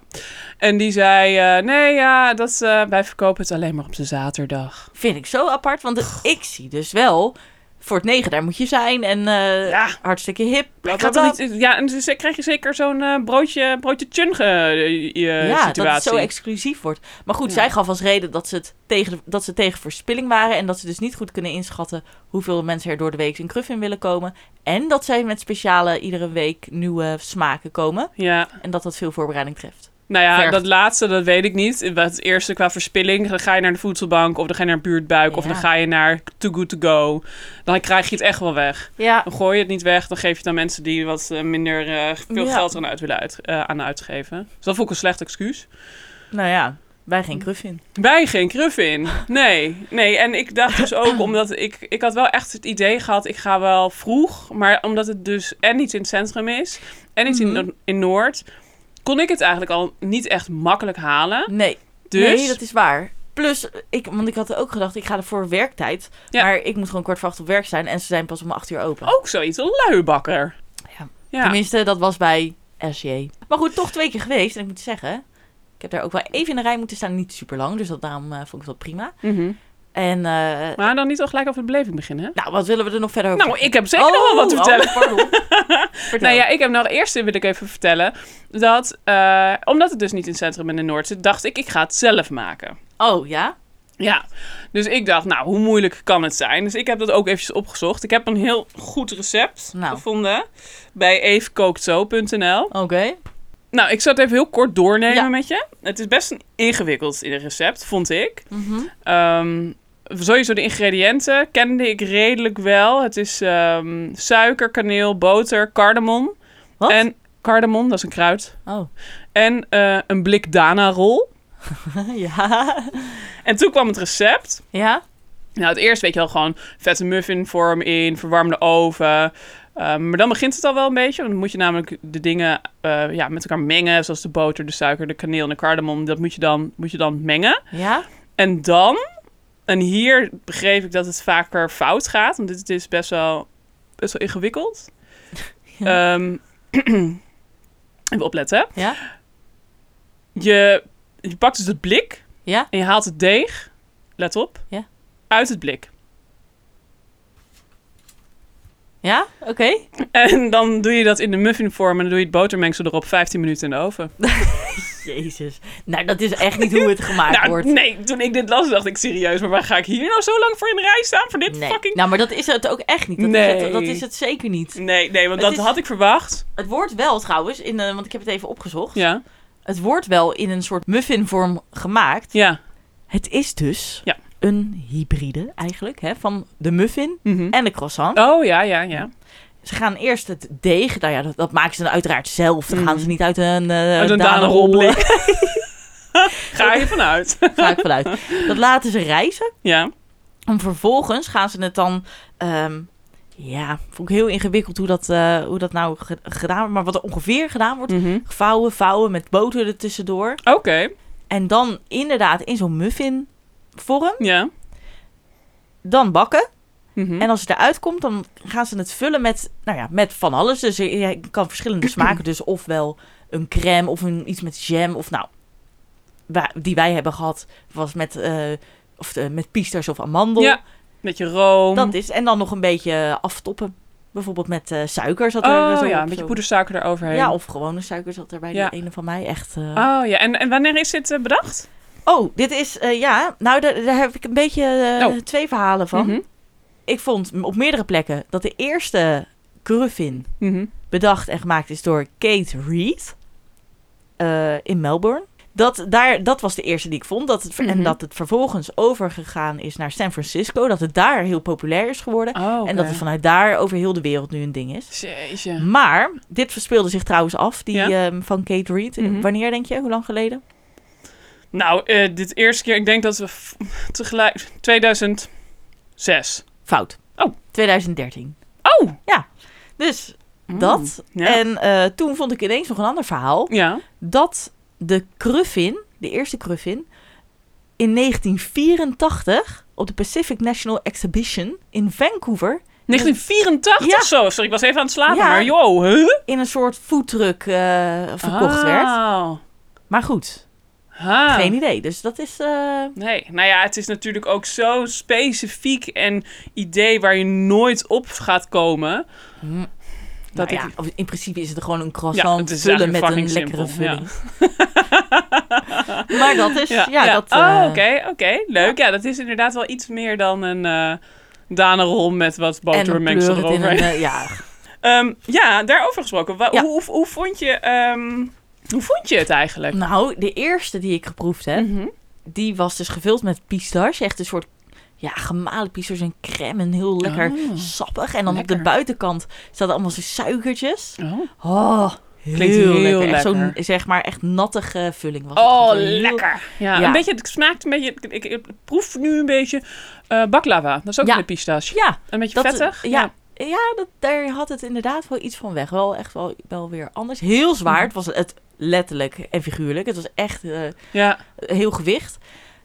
[SPEAKER 3] En die zei, eh, nee ja, dat, eh, wij verkopen het alleen maar op de zaterdag.
[SPEAKER 1] Vind ik zo apart, want ik zie dus wel... Voor het negen, daar moet je zijn. En eh,
[SPEAKER 3] Ja.
[SPEAKER 1] hartstikke hip. bla,
[SPEAKER 3] Ik
[SPEAKER 1] bla,
[SPEAKER 3] had dat
[SPEAKER 1] bla.
[SPEAKER 3] niet, ja, en dus krijg je zeker zo'n eh, broodje, broodje chun eh,
[SPEAKER 1] ja,
[SPEAKER 3] situatie.
[SPEAKER 1] dat het zo exclusief wordt. Maar goed, zij gaf als reden dat ze, het tegen, de- dat ze tegen verspilling waren... en dat ze dus niet goed kunnen inschatten... hoeveel mensen er door de week in Cruffin willen komen. En dat zij met speciale iedere week nieuwe smaken komen.
[SPEAKER 3] ja.
[SPEAKER 1] En dat dat veel voorbereiding treft.
[SPEAKER 3] Nou ja,
[SPEAKER 1] Vergt.
[SPEAKER 3] dat laatste, dat weet ik niet. Wat Het eerste qua verspilling, dan ga je naar de voedselbank... of dan ga je naar buurtbuik, of
[SPEAKER 1] Ja.
[SPEAKER 3] dan ga je naar Too Good To Go. Dan krijg je het echt wel weg.
[SPEAKER 1] Ja,
[SPEAKER 3] Dan gooi je het niet weg, dan geef je het aan mensen... die wat eh, minder eh, veel
[SPEAKER 1] Ja.
[SPEAKER 3] geld aan, uit willen uit, eh, aan uitgeven. Dus dat vond ik een slecht excuus.
[SPEAKER 1] nou ja, wij geen Cruffin.
[SPEAKER 3] Wij geen kruf in. Nee, nee. En ik dacht dus ook, omdat ik... Ik had wel echt het idee gehad, ik ga wel vroeg... maar omdat het dus en niet in het centrum is... en niet
[SPEAKER 1] Mhm.
[SPEAKER 3] in, in Noord... kon ik het eigenlijk al niet echt makkelijk halen...
[SPEAKER 1] Nee,
[SPEAKER 3] Dus
[SPEAKER 1] nee, dat is waar. Plus, ik, want ik had ook gedacht, ik ga er voor werktijd.
[SPEAKER 3] Ja.
[SPEAKER 1] Maar ik moet gewoon kwart voor acht op werk zijn en ze zijn pas om acht uur open.
[SPEAKER 3] ook zoiets, een luibakker.
[SPEAKER 1] Ja.
[SPEAKER 3] ja.
[SPEAKER 1] Tenminste, dat was bij SJ. Maar goed, toch twee keer geweest. En ik moet zeggen, ik heb daar ook wel even in de rij moeten staan. Niet super lang, dus dat, daarom eh, vond ik het wel prima.
[SPEAKER 3] Mhm.
[SPEAKER 1] En eh,
[SPEAKER 3] Maar dan niet al gelijk over de beleving beginnen, hè?
[SPEAKER 1] nou, wat willen we er nog verder over?
[SPEAKER 3] Nou, ik heb zeker nog wel wat te
[SPEAKER 1] oh,
[SPEAKER 3] vertellen.
[SPEAKER 1] pardon. Vertel.
[SPEAKER 3] Nou ja, ik heb nog eerst wil ik even vertellen dat, eh, omdat het dus niet in het centrum en in Noord zit, dacht ik, ik ga het zelf maken.
[SPEAKER 1] Oh, ja?
[SPEAKER 3] Ja, dus ik dacht, nou, hoe moeilijk kan het zijn? Dus ik heb dat ook eventjes opgezocht. Ik heb een heel goed recept
[SPEAKER 1] Nou.
[SPEAKER 3] gevonden bij eefkookzo.nl.
[SPEAKER 1] Oké.
[SPEAKER 3] Nou, ik zal het even heel kort doornemen
[SPEAKER 1] Ja.
[SPEAKER 3] met je. Het is best een ingewikkeld in een recept, vond ik.
[SPEAKER 1] Mhm.
[SPEAKER 3] Ehm, sowieso de ingrediënten kende ik redelijk wel. Het is ehm, suiker, kaneel, boter, cardamom.
[SPEAKER 1] Wat?
[SPEAKER 3] En cardamom, dat is een kruid.
[SPEAKER 1] Oh,
[SPEAKER 3] En eh, een blik Dana-rol.
[SPEAKER 1] ja.
[SPEAKER 3] En toen kwam het recept.
[SPEAKER 1] Ja?
[SPEAKER 3] Nou, het eerst weet je wel gewoon vette muffinvorm in, verwarmde oven. Ehm, maar dan begint het al wel een beetje. Want dan moet je namelijk de dingen eh, ja, met elkaar mengen. Zoals de boter, de suiker, de kaneel en de cardamom. Dat moet je dan, moet je dan mengen.
[SPEAKER 1] Ja?
[SPEAKER 3] En dan, en hier begreep ik dat het vaker fout gaat, want dit, dit is dus best wel, best wel ingewikkeld. Ehm, even opletten.
[SPEAKER 1] Ja?
[SPEAKER 3] Je, je pakt dus het blik
[SPEAKER 1] Ja?
[SPEAKER 3] en je haalt het deeg, let op,
[SPEAKER 1] Ja.
[SPEAKER 3] uit het blik.
[SPEAKER 1] Ja? Oké.
[SPEAKER 3] En dan doe je dat in de muffinvorm en dan doe je het botermengsel erop 15 minuten in de oven.
[SPEAKER 1] Jezus. Nou, dat is echt niet hoe het gemaakt
[SPEAKER 3] nou,
[SPEAKER 1] wordt.
[SPEAKER 3] nee, toen ik dit las dacht ik serieus, maar waar ga ik hier nou zo lang voor in de rij staan voor dit
[SPEAKER 1] Nee.
[SPEAKER 3] fucking...
[SPEAKER 1] Nou, maar dat is het ook echt niet. Dat, is,
[SPEAKER 3] Nee.
[SPEAKER 1] het, dat is het zeker niet.
[SPEAKER 3] Nee, nee, want
[SPEAKER 1] Het
[SPEAKER 3] dat
[SPEAKER 1] is-
[SPEAKER 3] had ik verwacht.
[SPEAKER 1] Het wordt wel trouwens, in, eh, want ik heb het even opgezocht.
[SPEAKER 3] Ja,
[SPEAKER 1] Het wordt wel in een soort muffinvorm gemaakt.
[SPEAKER 3] ja.
[SPEAKER 1] Het is dus
[SPEAKER 3] Ja.
[SPEAKER 1] een hybride eigenlijk hè, van de muffin
[SPEAKER 3] Mhm.
[SPEAKER 1] en de croissant.
[SPEAKER 3] Oh, ja, ja, ja.
[SPEAKER 1] Ze gaan eerst het deeg, nou ja, dat, dat maken ze dan uiteraard zelf. Dan gaan ze niet uit een, eh
[SPEAKER 3] Mm. Uit een
[SPEAKER 1] danenrol,
[SPEAKER 3] danenrolblik. Ga je vanuit.
[SPEAKER 1] Ga ik vanuit. Dat laten ze rijzen.
[SPEAKER 3] ja.
[SPEAKER 1] En vervolgens gaan ze het dan. ehm, ja, vond ik heel ingewikkeld hoe dat, eh, hoe dat nou ge- gedaan wordt. Maar wat er ongeveer gedaan wordt. Vouwen, vouwen met boter er tussendoor.
[SPEAKER 3] Mhm. Oké,
[SPEAKER 1] En dan inderdaad in zo'n muffin vorm.
[SPEAKER 3] ja.
[SPEAKER 1] Dan bakken.
[SPEAKER 3] Mhm.
[SPEAKER 1] En als het eruit komt, dan gaan ze het vullen met, nou ja, met van alles. Dus je je kan verschillende smaken. Dus ofwel een crème of een, iets met jam. Of nou, wa- die wij hebben gehad was met, eh, of, eh, met piesters of amandel.
[SPEAKER 3] Ja, met je room.
[SPEAKER 1] Dat is. En dan nog een beetje aftoppen. Bijvoorbeeld met eh, suiker zat er
[SPEAKER 3] oh
[SPEAKER 1] zo
[SPEAKER 3] ja,
[SPEAKER 1] op,
[SPEAKER 3] een beetje
[SPEAKER 1] zo.
[SPEAKER 3] poedersuiker eroverheen.
[SPEAKER 1] Ja, of gewone suiker zat er bij
[SPEAKER 3] Ja.
[SPEAKER 1] de ene van mij. Echt. eh,
[SPEAKER 3] Oh ja, en, en wanneer is dit eh, bedacht?
[SPEAKER 1] Oh, dit is, eh, ja, nou daar, daar heb ik een beetje eh,
[SPEAKER 3] Oh.
[SPEAKER 1] twee verhalen van.
[SPEAKER 3] Mhm.
[SPEAKER 1] Ik vond m- op meerdere plekken dat de eerste Gruffin
[SPEAKER 3] Mhm.
[SPEAKER 1] bedacht en gemaakt is door Kate Reed eh, in Melbourne. Dat, daar, dat was de eerste die ik vond. Dat het, ver-
[SPEAKER 3] Mhm.
[SPEAKER 1] En dat het vervolgens overgegaan is naar San Francisco. Dat het daar heel populair is geworden.
[SPEAKER 3] Oh, oké.
[SPEAKER 1] En dat het vanuit daar over heel de wereld nu een ding is.
[SPEAKER 3] Jeetje.
[SPEAKER 1] Maar dit verspeelde zich trouwens af, die
[SPEAKER 3] Ja? Mhm.
[SPEAKER 1] ehm, van Kate Reed. Wanneer denk je? Hoe lang geleden?
[SPEAKER 3] Nou, eh, dit eerste keer, ik denk dat we f- tegelijk... 2006.
[SPEAKER 1] Fout.
[SPEAKER 3] Oh.
[SPEAKER 1] 2013.
[SPEAKER 3] Oh!
[SPEAKER 1] Dus dat.
[SPEAKER 3] Mm, Ja.
[SPEAKER 1] En eh, toen vond ik ineens nog een ander verhaal.
[SPEAKER 3] Ja.
[SPEAKER 1] Dat de Cruffin, de eerste Cruffin, in 1984 op de Pacific National Exhibition in Vancouver
[SPEAKER 3] 1984
[SPEAKER 1] Ja.
[SPEAKER 3] of zo. Sorry, ik was even aan het slapen,
[SPEAKER 1] Ja.
[SPEAKER 3] maar joh. Huh?
[SPEAKER 1] in een soort foodtruck eh, verkocht werd.
[SPEAKER 3] Ah.
[SPEAKER 1] Maar goed,
[SPEAKER 3] Ha.
[SPEAKER 1] geen idee. Dus dat is... eh,
[SPEAKER 3] Nee, nou ja, het is natuurlijk ook zo specifiek en idee waar je nooit op gaat komen. Dat
[SPEAKER 1] nou ja,
[SPEAKER 3] ik...
[SPEAKER 1] of- in principe is het gewoon een
[SPEAKER 3] Ja,
[SPEAKER 1] croissant
[SPEAKER 3] het is
[SPEAKER 1] vullen met
[SPEAKER 3] eigenlijk
[SPEAKER 1] een
[SPEAKER 3] fucking
[SPEAKER 1] lekkere
[SPEAKER 3] simpel, ja.
[SPEAKER 1] vulling. maar dat is... Ja, dat...
[SPEAKER 3] oh,
[SPEAKER 1] eh,
[SPEAKER 3] oké, oké. Leuk. Ja. dat is inderdaad wel iets meer dan een eh danenrol met wat
[SPEAKER 1] En dan
[SPEAKER 3] botermengsel
[SPEAKER 1] kleur het in
[SPEAKER 3] erover.
[SPEAKER 1] een... eh, ja,
[SPEAKER 3] Ehm, ja, daarover gesproken. Wa-
[SPEAKER 1] Ja.
[SPEAKER 3] Hoe, hoe, hoe vond je, ehm, hoe vond je het eigenlijk?
[SPEAKER 1] Nou, de eerste die ik geproefd heb,
[SPEAKER 3] Mhm.
[SPEAKER 1] die was dus gevuld met pistache. Echt een soort ja, gemalen pistache en crème en heel lekker
[SPEAKER 3] Oh,
[SPEAKER 1] sappig. En dan op
[SPEAKER 3] lekker.
[SPEAKER 1] de buitenkant zaten allemaal zo suikertjes.
[SPEAKER 3] Oh,
[SPEAKER 1] Oh, heel,
[SPEAKER 3] Klinkt heel
[SPEAKER 1] lekker. Echt Zo'n,
[SPEAKER 3] lekker.
[SPEAKER 1] zeg maar, echt nattige vulling was
[SPEAKER 3] Oh,
[SPEAKER 1] het. Gewoon heel-
[SPEAKER 3] lekker. Ja,
[SPEAKER 1] Ja.
[SPEAKER 3] Een beetje, het smaakt een beetje, ik, ik, ik proef nu een beetje eh, baklava. Dat is ook
[SPEAKER 1] Ja.
[SPEAKER 3] met pistache.
[SPEAKER 1] Ja,
[SPEAKER 3] Een beetje
[SPEAKER 1] dat, eh,
[SPEAKER 3] vettig.
[SPEAKER 1] Ja, ja dat, daar had het inderdaad wel iets van weg. Wel echt wel, wel weer anders. Heel
[SPEAKER 3] Mhm.
[SPEAKER 1] zwaar. Het was het letterlijk en figuurlijk. Het was echt... eh,
[SPEAKER 3] ja.
[SPEAKER 1] heel gewicht.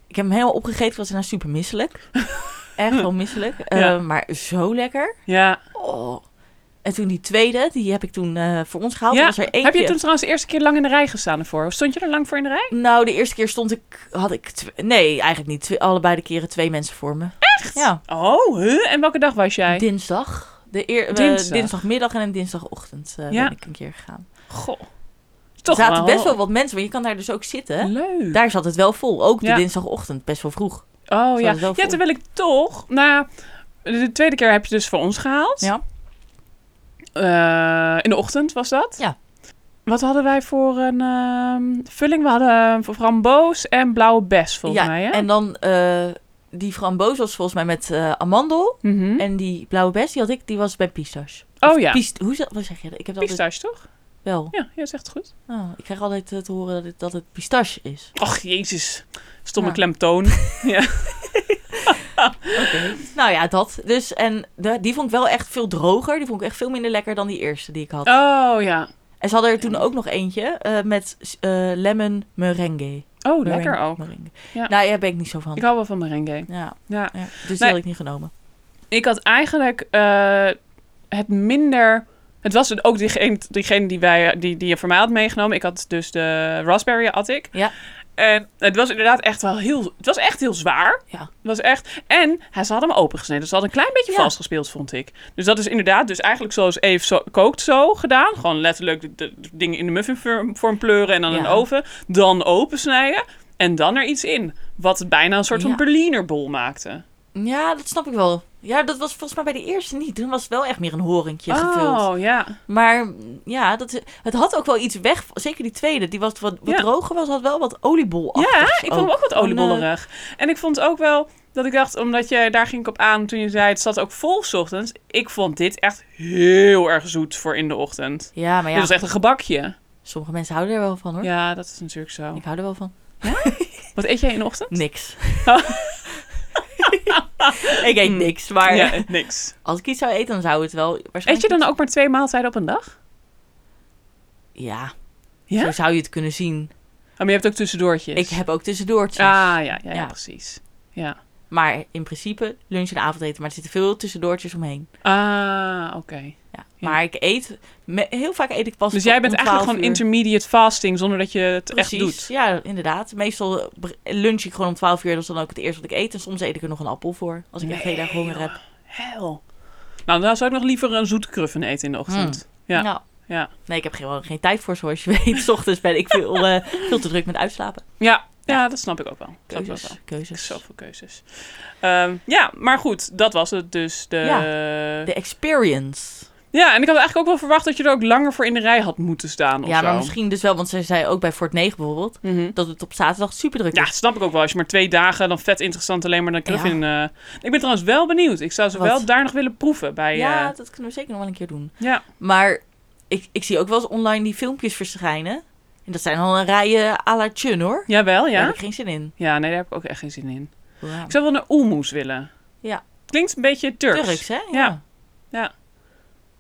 [SPEAKER 1] Ik heb hem helemaal opgegeten, was daarna super misselijk. Echt wel misselijk. Eh,
[SPEAKER 3] Ja.
[SPEAKER 1] Maar zo lekker.
[SPEAKER 3] ja.
[SPEAKER 1] Oh. En toen die tweede, die heb ik toen eh, voor ons gehaald. Er
[SPEAKER 3] Ja,
[SPEAKER 1] Was er eentje.
[SPEAKER 3] Heb je toen trouwens de eerste keer lang in de rij gestaan ervoor? Of stond je er lang voor in de rij?
[SPEAKER 1] Nou, de eerste keer stond ik, had ik, tw- nee, eigenlijk niet. Twee- allebei de keren twee mensen voor me. Echt? Ja.
[SPEAKER 3] Oh, huh? en welke dag was jij?
[SPEAKER 1] Dinsdag. De eer, eh,
[SPEAKER 3] Dinsdag.
[SPEAKER 1] dinsdagmiddag en een dinsdagochtend eh,
[SPEAKER 3] Ja.
[SPEAKER 1] ben ik een keer gegaan.
[SPEAKER 3] Goh. Toch
[SPEAKER 1] er zaten best wel wat mensen, maar je kan daar dus ook zitten.
[SPEAKER 3] leuk.
[SPEAKER 1] Daar zat het wel vol. Ook de
[SPEAKER 3] Ja.
[SPEAKER 1] dinsdagochtend, best wel vroeg.
[SPEAKER 3] Oh ja.
[SPEAKER 1] het wel
[SPEAKER 3] Ja,
[SPEAKER 1] vol.
[SPEAKER 3] terwijl ik toch... Na de tweede keer heb je dus voor ons gehaald.
[SPEAKER 1] Ja.
[SPEAKER 3] Eh, in de ochtend was dat.
[SPEAKER 1] Ja.
[SPEAKER 3] Wat hadden wij voor een ehm, vulling? We hadden voor framboos en blauwe bes, volgens
[SPEAKER 1] ja,
[SPEAKER 3] mij. Hè?
[SPEAKER 1] En dan eh, die framboos was volgens mij met eh, amandel.
[SPEAKER 3] Mhm.
[SPEAKER 1] En die blauwe bes, die had ik, die was bij pistache.
[SPEAKER 3] Oh
[SPEAKER 1] Of
[SPEAKER 3] ja.
[SPEAKER 1] pist- hoe zeg, wat zeg je dat? Ik heb dat altijd
[SPEAKER 3] Pistache, toch?
[SPEAKER 1] wel.
[SPEAKER 3] Ja, jij zegt het goed.
[SPEAKER 1] Oh, ik krijg altijd eh, te horen dat het, dat het pistache is.
[SPEAKER 3] Och, jezus. Stomme
[SPEAKER 1] Ja.
[SPEAKER 3] klemtoon.
[SPEAKER 1] Nou ja, dat. Dus, en de- die vond ik wel echt veel droger. Die vond ik echt veel minder lekker dan die eerste die ik had.
[SPEAKER 3] Oh ja.
[SPEAKER 1] En ze hadden er toen ook nog eentje eh, met eh, lemon merengue.
[SPEAKER 3] Oh,
[SPEAKER 1] Meren-
[SPEAKER 3] lekker ook.
[SPEAKER 1] merengue.
[SPEAKER 3] Ja.
[SPEAKER 1] Nou ja, ben ik niet zo van.
[SPEAKER 3] Ik hou wel van merengue.
[SPEAKER 1] Ja,
[SPEAKER 3] Ja.
[SPEAKER 1] ja, dus die
[SPEAKER 3] Nee.
[SPEAKER 1] had ik niet genomen.
[SPEAKER 3] Ik had eigenlijk eh, het minder... Het was het ook diegene, diegene die, wij, die, die je voor mij had meegenomen. Ik had dus de raspberry had ik.
[SPEAKER 1] Ja.
[SPEAKER 3] En het was inderdaad echt wel heel... Het was echt heel zwaar.
[SPEAKER 1] Ja.
[SPEAKER 3] Het was echt... En hij, ze hadden hem opengesneden. Dus ze hadden een klein beetje
[SPEAKER 1] Ja.
[SPEAKER 3] vastgespeeld, vond ik. Dus dat is inderdaad dus eigenlijk zoals Eve zo, kookt zo gedaan. Gewoon letterlijk de, de- de dingen in de muffinvorm vorm pleuren en dan
[SPEAKER 1] Ja.
[SPEAKER 3] een oven. Dan opensnijden en dan er iets in. Wat het bijna een soort
[SPEAKER 1] Ja.
[SPEAKER 3] van Berliner bol maakte.
[SPEAKER 1] Ja, dat snap ik wel. Ja, dat was volgens mij bij de eerste niet. Toen was het wel echt meer een horentje gevuld.
[SPEAKER 3] oh, ja.
[SPEAKER 1] Maar mm, ja, dat, is- het had ook wel iets weg. Zeker die tweede, die was wat, wat
[SPEAKER 3] Ja.
[SPEAKER 1] droger was, had wel wat oliebol
[SPEAKER 3] Ja, ik vond hem ook wat
[SPEAKER 1] Van, eh,
[SPEAKER 3] oliebollerig. En ik vond ook wel dat ik dacht, omdat je daar ging ik op aan toen je zei, het zat ook vol 's ochtends. Ik vond dit echt heel erg zoet voor in de ochtend.
[SPEAKER 1] Ja, maar
[SPEAKER 3] Dit
[SPEAKER 1] ja,
[SPEAKER 3] was echt een gebakje.
[SPEAKER 1] sommige mensen houden er wel van hoor.
[SPEAKER 3] Ja, dat is natuurlijk zo.
[SPEAKER 1] Ik hou er wel van.
[SPEAKER 3] Wat eet jij in de ochtend?
[SPEAKER 1] Niks. ik eet niks, maar
[SPEAKER 3] Mm. Ja, niks.
[SPEAKER 1] als ik iets zou eten, dan zou het wel
[SPEAKER 3] Eet je
[SPEAKER 1] waarschijnlijk...
[SPEAKER 3] dan ook maar twee maaltijden op een dag?
[SPEAKER 1] Ja,
[SPEAKER 3] Ja?
[SPEAKER 1] zo zou je het kunnen zien.
[SPEAKER 3] Oh, maar je hebt ook tussendoortjes.
[SPEAKER 1] Ik heb ook tussendoortjes.
[SPEAKER 3] Ah, ja, ja, ja,
[SPEAKER 1] Ja.
[SPEAKER 3] precies. Ja.
[SPEAKER 1] Maar in principe lunch en avondeten, maar er zitten veel tussendoortjes omheen.
[SPEAKER 3] Ah, oké.
[SPEAKER 1] Ja.
[SPEAKER 3] Ja.
[SPEAKER 1] Maar ik eet... me- heel vaak eet ik pas
[SPEAKER 3] Dus jij
[SPEAKER 1] om
[SPEAKER 3] bent
[SPEAKER 1] 12
[SPEAKER 3] eigenlijk gewoon
[SPEAKER 1] uur.
[SPEAKER 3] intermediate fasting zonder dat je het echt
[SPEAKER 1] Precies,
[SPEAKER 3] doet.
[SPEAKER 1] ja, inderdaad. Meestal br- lunch ik gewoon om 12 uur. Dat is dan ook het eerste wat ik eet. En soms eet ik er nog een appel voor. Als ik echt heel erg honger heb.
[SPEAKER 3] Hel. Nou, dan zou ik nog liever een zoete kruffen eten in de ochtend. Ja.
[SPEAKER 1] Nou,
[SPEAKER 3] Ja.
[SPEAKER 1] nee, ik heb gewoon geen tijd voor, zoals je weet. 's ochtends ben ik veel, eh, veel te druk met uitslapen.
[SPEAKER 3] Ja, ja, dat snap ik ook wel. Dat snap ik ook
[SPEAKER 1] Keuzes,
[SPEAKER 3] wel. Ik heb
[SPEAKER 1] keuzes.
[SPEAKER 3] Zoveel keuzes. Ehm, ja, maar goed, dat was het dus. De...
[SPEAKER 1] De experience.
[SPEAKER 3] Ja, en ik had eigenlijk ook wel verwacht dat je er ook langer voor in de rij had moeten staan. Of
[SPEAKER 1] Ja, maar
[SPEAKER 3] zo. Mhm.
[SPEAKER 1] misschien dus wel, want ze zei ook bij Fort 9 bijvoorbeeld, dat het op zaterdag super druk
[SPEAKER 3] Ja,
[SPEAKER 1] is.
[SPEAKER 3] snap ik ook wel. Als je maar twee dagen, dan vet interessant alleen maar naar Club
[SPEAKER 1] Ja.
[SPEAKER 3] in. eh. Ik ben trouwens wel benieuwd. Ik zou ze
[SPEAKER 1] Wat?
[SPEAKER 3] wel daar nog willen proeven. Bij, eh, ja,
[SPEAKER 1] Ja, dat kunnen we zeker nog wel een keer doen.
[SPEAKER 3] ja.
[SPEAKER 1] Maar ik, ik zie ook wel eens online die filmpjes verschijnen. En dat zijn al een rijen à la chun hoor.
[SPEAKER 3] Jawel,
[SPEAKER 1] Daar
[SPEAKER 3] ja.
[SPEAKER 1] heb ik geen zin in.
[SPEAKER 3] Ja, nee, daar heb ik ook echt geen zin in.
[SPEAKER 1] Wauw.
[SPEAKER 3] Ik zou wel naar Oelmoes willen.
[SPEAKER 1] Ja.
[SPEAKER 3] Klinkt een beetje Turks.
[SPEAKER 1] Turks, hè?
[SPEAKER 3] Ja.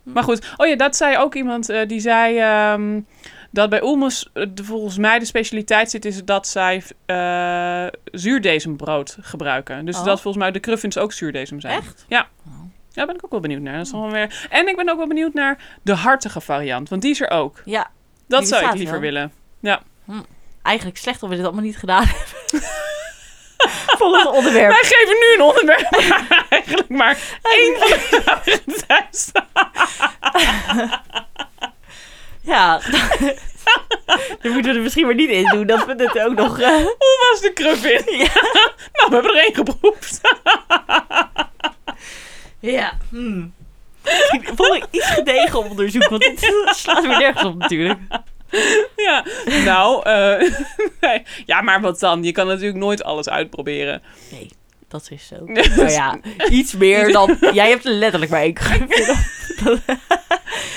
[SPEAKER 3] Maar goed. Oh ja, dat zei ook iemand eh, die zei ehm, dat bij Oelmoes eh, de- volgens mij de specialiteit zit is dat zij eh zuurdesembrood gebruiken. Dus
[SPEAKER 1] Oh.
[SPEAKER 3] dat volgens mij de cruffins ook zuurdesem zijn.
[SPEAKER 1] Echt?
[SPEAKER 3] Ja. Daar ben ik ook wel benieuwd naar. Dat is gewoon weer... En ik ben ook wel benieuwd naar de hartige variant, want die is er ook.
[SPEAKER 1] Ja,
[SPEAKER 3] Dat
[SPEAKER 1] Die
[SPEAKER 3] zou ik
[SPEAKER 1] bestaat
[SPEAKER 3] liever
[SPEAKER 1] wel.
[SPEAKER 3] willen.
[SPEAKER 1] eigenlijk slecht dat we dit allemaal niet gedaan hebben. Volgend onderwerp.
[SPEAKER 3] Wij geven nu een onderwerp waar eigenlijk maar één van de dagen thuis staat.
[SPEAKER 1] Ja. Dan moeten we er misschien maar niet in doen dat we dit ook nog... eh,
[SPEAKER 3] Hoe was de cruffin? nou, we hebben er één geproefd.
[SPEAKER 1] Ja. Hmm. Volg iets gedegen onderzoek, want dit slaat weer nergens op natuurlijk.
[SPEAKER 3] ja. Nou, eh, nee. ja, maar wat dan? Je kan natuurlijk nooit alles uitproberen.
[SPEAKER 1] Nee, dat is zo. Nou ja, iets meer dan... Jij hebt er letterlijk maar één keer.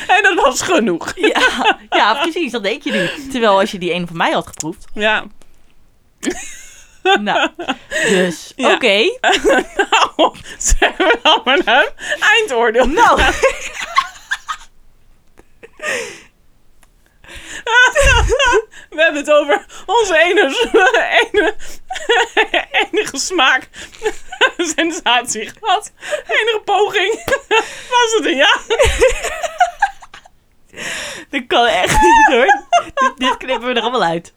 [SPEAKER 3] En dat was genoeg.
[SPEAKER 1] Ja, ja, precies, dat denk je nu. Terwijl als je die ene van mij had geproefd...
[SPEAKER 3] Ja.
[SPEAKER 1] Nou, dus,
[SPEAKER 3] Ja.
[SPEAKER 1] oké.
[SPEAKER 3] Nou, zeggen we dan maar een eindoordeel.
[SPEAKER 1] Nou,
[SPEAKER 3] We hebben het over onze enige, enige, enige smaak, sensatie gehad. Enige poging. Was het een ja?
[SPEAKER 1] dat kan echt niet hoor. Dit, dit knippen we er allemaal uit.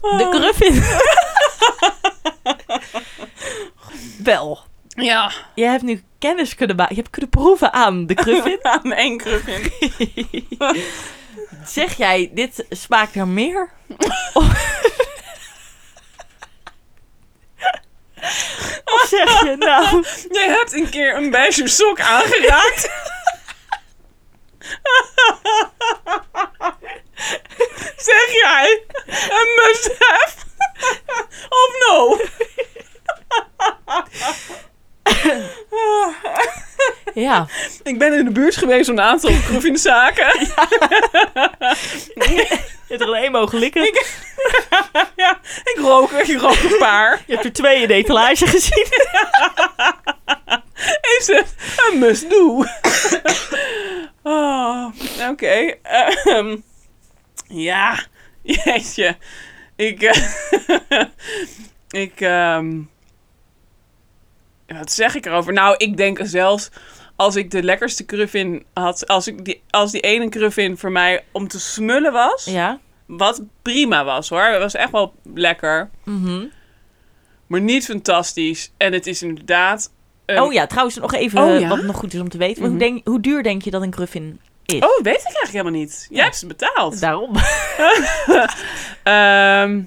[SPEAKER 1] De Gruffin. Wel,
[SPEAKER 3] Ja,
[SPEAKER 1] jij hebt nu kennis kunnen maken. Je hebt kunnen proeven aan de Gruffin.
[SPEAKER 3] aan één cruffin.
[SPEAKER 1] Zeg jij, dit smaakt naar meer? of zeg je, nou,
[SPEAKER 3] Jij hebt een keer een beige sok aangeraakt. zeg jij een must-have of no?
[SPEAKER 1] ja,
[SPEAKER 3] Ik ben in de buurt geweest van een aantal gruffinzaken.
[SPEAKER 1] je hebt er alleen mogen likken.
[SPEAKER 3] ja, ik rook er, ik rook een paar.
[SPEAKER 1] Je hebt er twee in de etalage gezien.
[SPEAKER 3] Is het een must-do? oh, oké. ehm, ja, jeetje. Ik... eh, ik... ehm, wat zeg ik erover? Nou, ik denk zelfs... Als ik de lekkerste cruffin had... Als, ik die, als die ene cruffin voor mij om te smullen was...
[SPEAKER 1] Ja,
[SPEAKER 3] Wat prima was hoor. Het was echt wel lekker.
[SPEAKER 1] mhm.
[SPEAKER 3] Maar niet fantastisch. En het is inderdaad. een-
[SPEAKER 1] Oh ja, Mhm. trouwens nog even
[SPEAKER 3] Oh
[SPEAKER 1] eh,
[SPEAKER 3] ja?
[SPEAKER 1] wat nog goed is om te weten. Hoe, denk, hoe duur denk je dat een gruffin is?
[SPEAKER 3] Oh, weet ik eigenlijk helemaal niet. Jij hebt ze betaald.
[SPEAKER 1] Daarom.
[SPEAKER 3] Ehm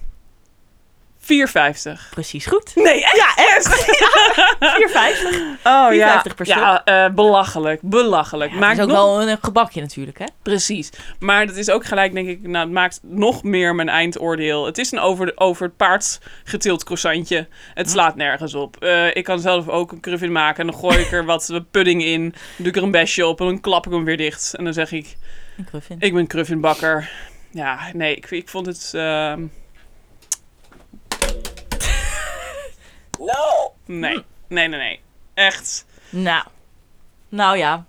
[SPEAKER 3] 4,50.
[SPEAKER 1] Precies goed.
[SPEAKER 3] Nee, echt? Ja, echt?
[SPEAKER 1] 4,50.
[SPEAKER 3] Oh ja.
[SPEAKER 1] 4,50 per stuk.
[SPEAKER 3] Ja, eh, belachelijk. Belachelijk.
[SPEAKER 1] Dat
[SPEAKER 3] maakt
[SPEAKER 1] is ook
[SPEAKER 3] nog...
[SPEAKER 1] wel een eh, gebakje natuurlijk, hè?
[SPEAKER 3] Precies. Maar dat is ook gelijk, denk ik, nou, het maakt nog meer mijn eindoordeel. Het is een over, de- over het paard getild croissantje. Het slaat nergens op. Eh, ik kan zelf ook een cruffin maken en dan gooi ik er wat pudding in. Doe ik er een besje op en dan klap ik hem weer dicht. En dan zeg ik,
[SPEAKER 1] Een gruffin.
[SPEAKER 3] Ik ben Cruffinbakker. Ja, nee, ik, ik vond het. ehm, Nee, nee, nee, nee. Echt.
[SPEAKER 1] Nou, nou ja.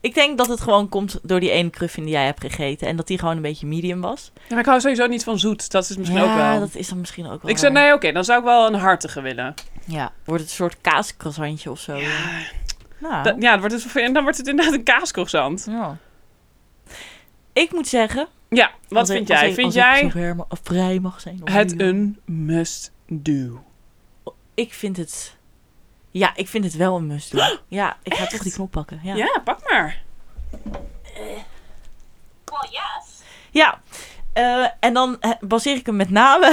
[SPEAKER 1] Ik denk dat het gewoon komt door die ene gruffin die jij hebt gegeten. En dat die gewoon een beetje medium was.
[SPEAKER 3] Ja, maar ik hou sowieso niet van zoet. Dat is misschien ook
[SPEAKER 1] ja,
[SPEAKER 3] wel.
[SPEAKER 1] dat is dan misschien ook wel.
[SPEAKER 3] Ik zei,
[SPEAKER 1] waar.
[SPEAKER 3] nee, oké, dan zou ik wel een hartige willen.
[SPEAKER 1] Ja, wordt het een soort kaaskrasantje of zo.
[SPEAKER 3] Ja,
[SPEAKER 1] Nou,
[SPEAKER 3] dat, ja dan, wordt het, en dan wordt het inderdaad een kaascroissant.
[SPEAKER 1] ja. Ik moet zeggen...
[SPEAKER 3] Ja, wat
[SPEAKER 1] als ik-
[SPEAKER 3] vind
[SPEAKER 1] als
[SPEAKER 3] jij?
[SPEAKER 1] ik-
[SPEAKER 3] vind
[SPEAKER 1] als
[SPEAKER 3] jij
[SPEAKER 1] Ik zo ver ma- of vrij mag zijn. om
[SPEAKER 3] het
[SPEAKER 1] nu-
[SPEAKER 3] een must-do?
[SPEAKER 1] Ik vind het... Ja, ik vind het wel een must doen. Ja, ik ga toch die knop pakken. Ja.
[SPEAKER 3] Ja. pak maar.
[SPEAKER 1] Ja, eh, en dan eh, baseer ik hem met name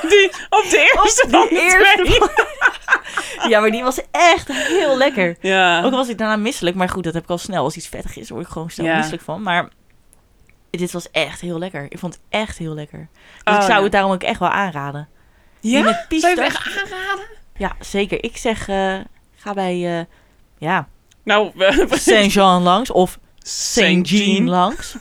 [SPEAKER 3] Die, op de eerste
[SPEAKER 1] op
[SPEAKER 3] van
[SPEAKER 1] die
[SPEAKER 3] de twee.
[SPEAKER 1] eerste. Ja, maar die was echt heel lekker.
[SPEAKER 3] Ja.
[SPEAKER 1] Ook al was ik daarna misselijk, maar goed, dat heb ik al snel. Als iets vettig is, word ik gewoon snel
[SPEAKER 3] Ja.
[SPEAKER 1] misselijk van. Maar dit was echt heel lekker. Ik vond het echt heel lekker. Dus
[SPEAKER 3] Oh,
[SPEAKER 1] ik zou
[SPEAKER 3] ja.
[SPEAKER 1] het daarom ook echt wel aanraden. Die
[SPEAKER 3] ja?
[SPEAKER 1] met
[SPEAKER 3] Zou je
[SPEAKER 1] pistache.
[SPEAKER 3] het echt aanraden?
[SPEAKER 1] Ja, zeker. Ik zeg, eh, ga bij eh, ja,
[SPEAKER 3] Nou,
[SPEAKER 1] Saint-Jean langs of
[SPEAKER 3] Jean.
[SPEAKER 1] Saint-Jean langs.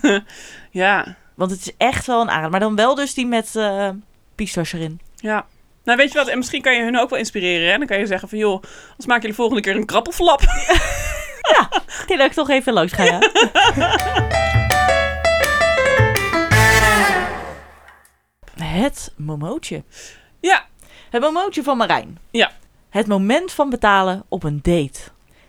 [SPEAKER 3] Ja,
[SPEAKER 1] Want het is echt wel een aanrader. Maar dan wel dus die met eh pistache erin.
[SPEAKER 3] ja. Nou, weet je wat? En misschien kan je hun ook wel inspireren. Hè? Dan kan je zeggen van, joh, als maak jullie volgende keer een krappelflap.
[SPEAKER 1] Ik denk dat ik toch even langs ga, ja. Het momootje.
[SPEAKER 3] ja,
[SPEAKER 1] Het momootje van Marijn.
[SPEAKER 3] Ja.
[SPEAKER 1] Het moment van betalen op een date.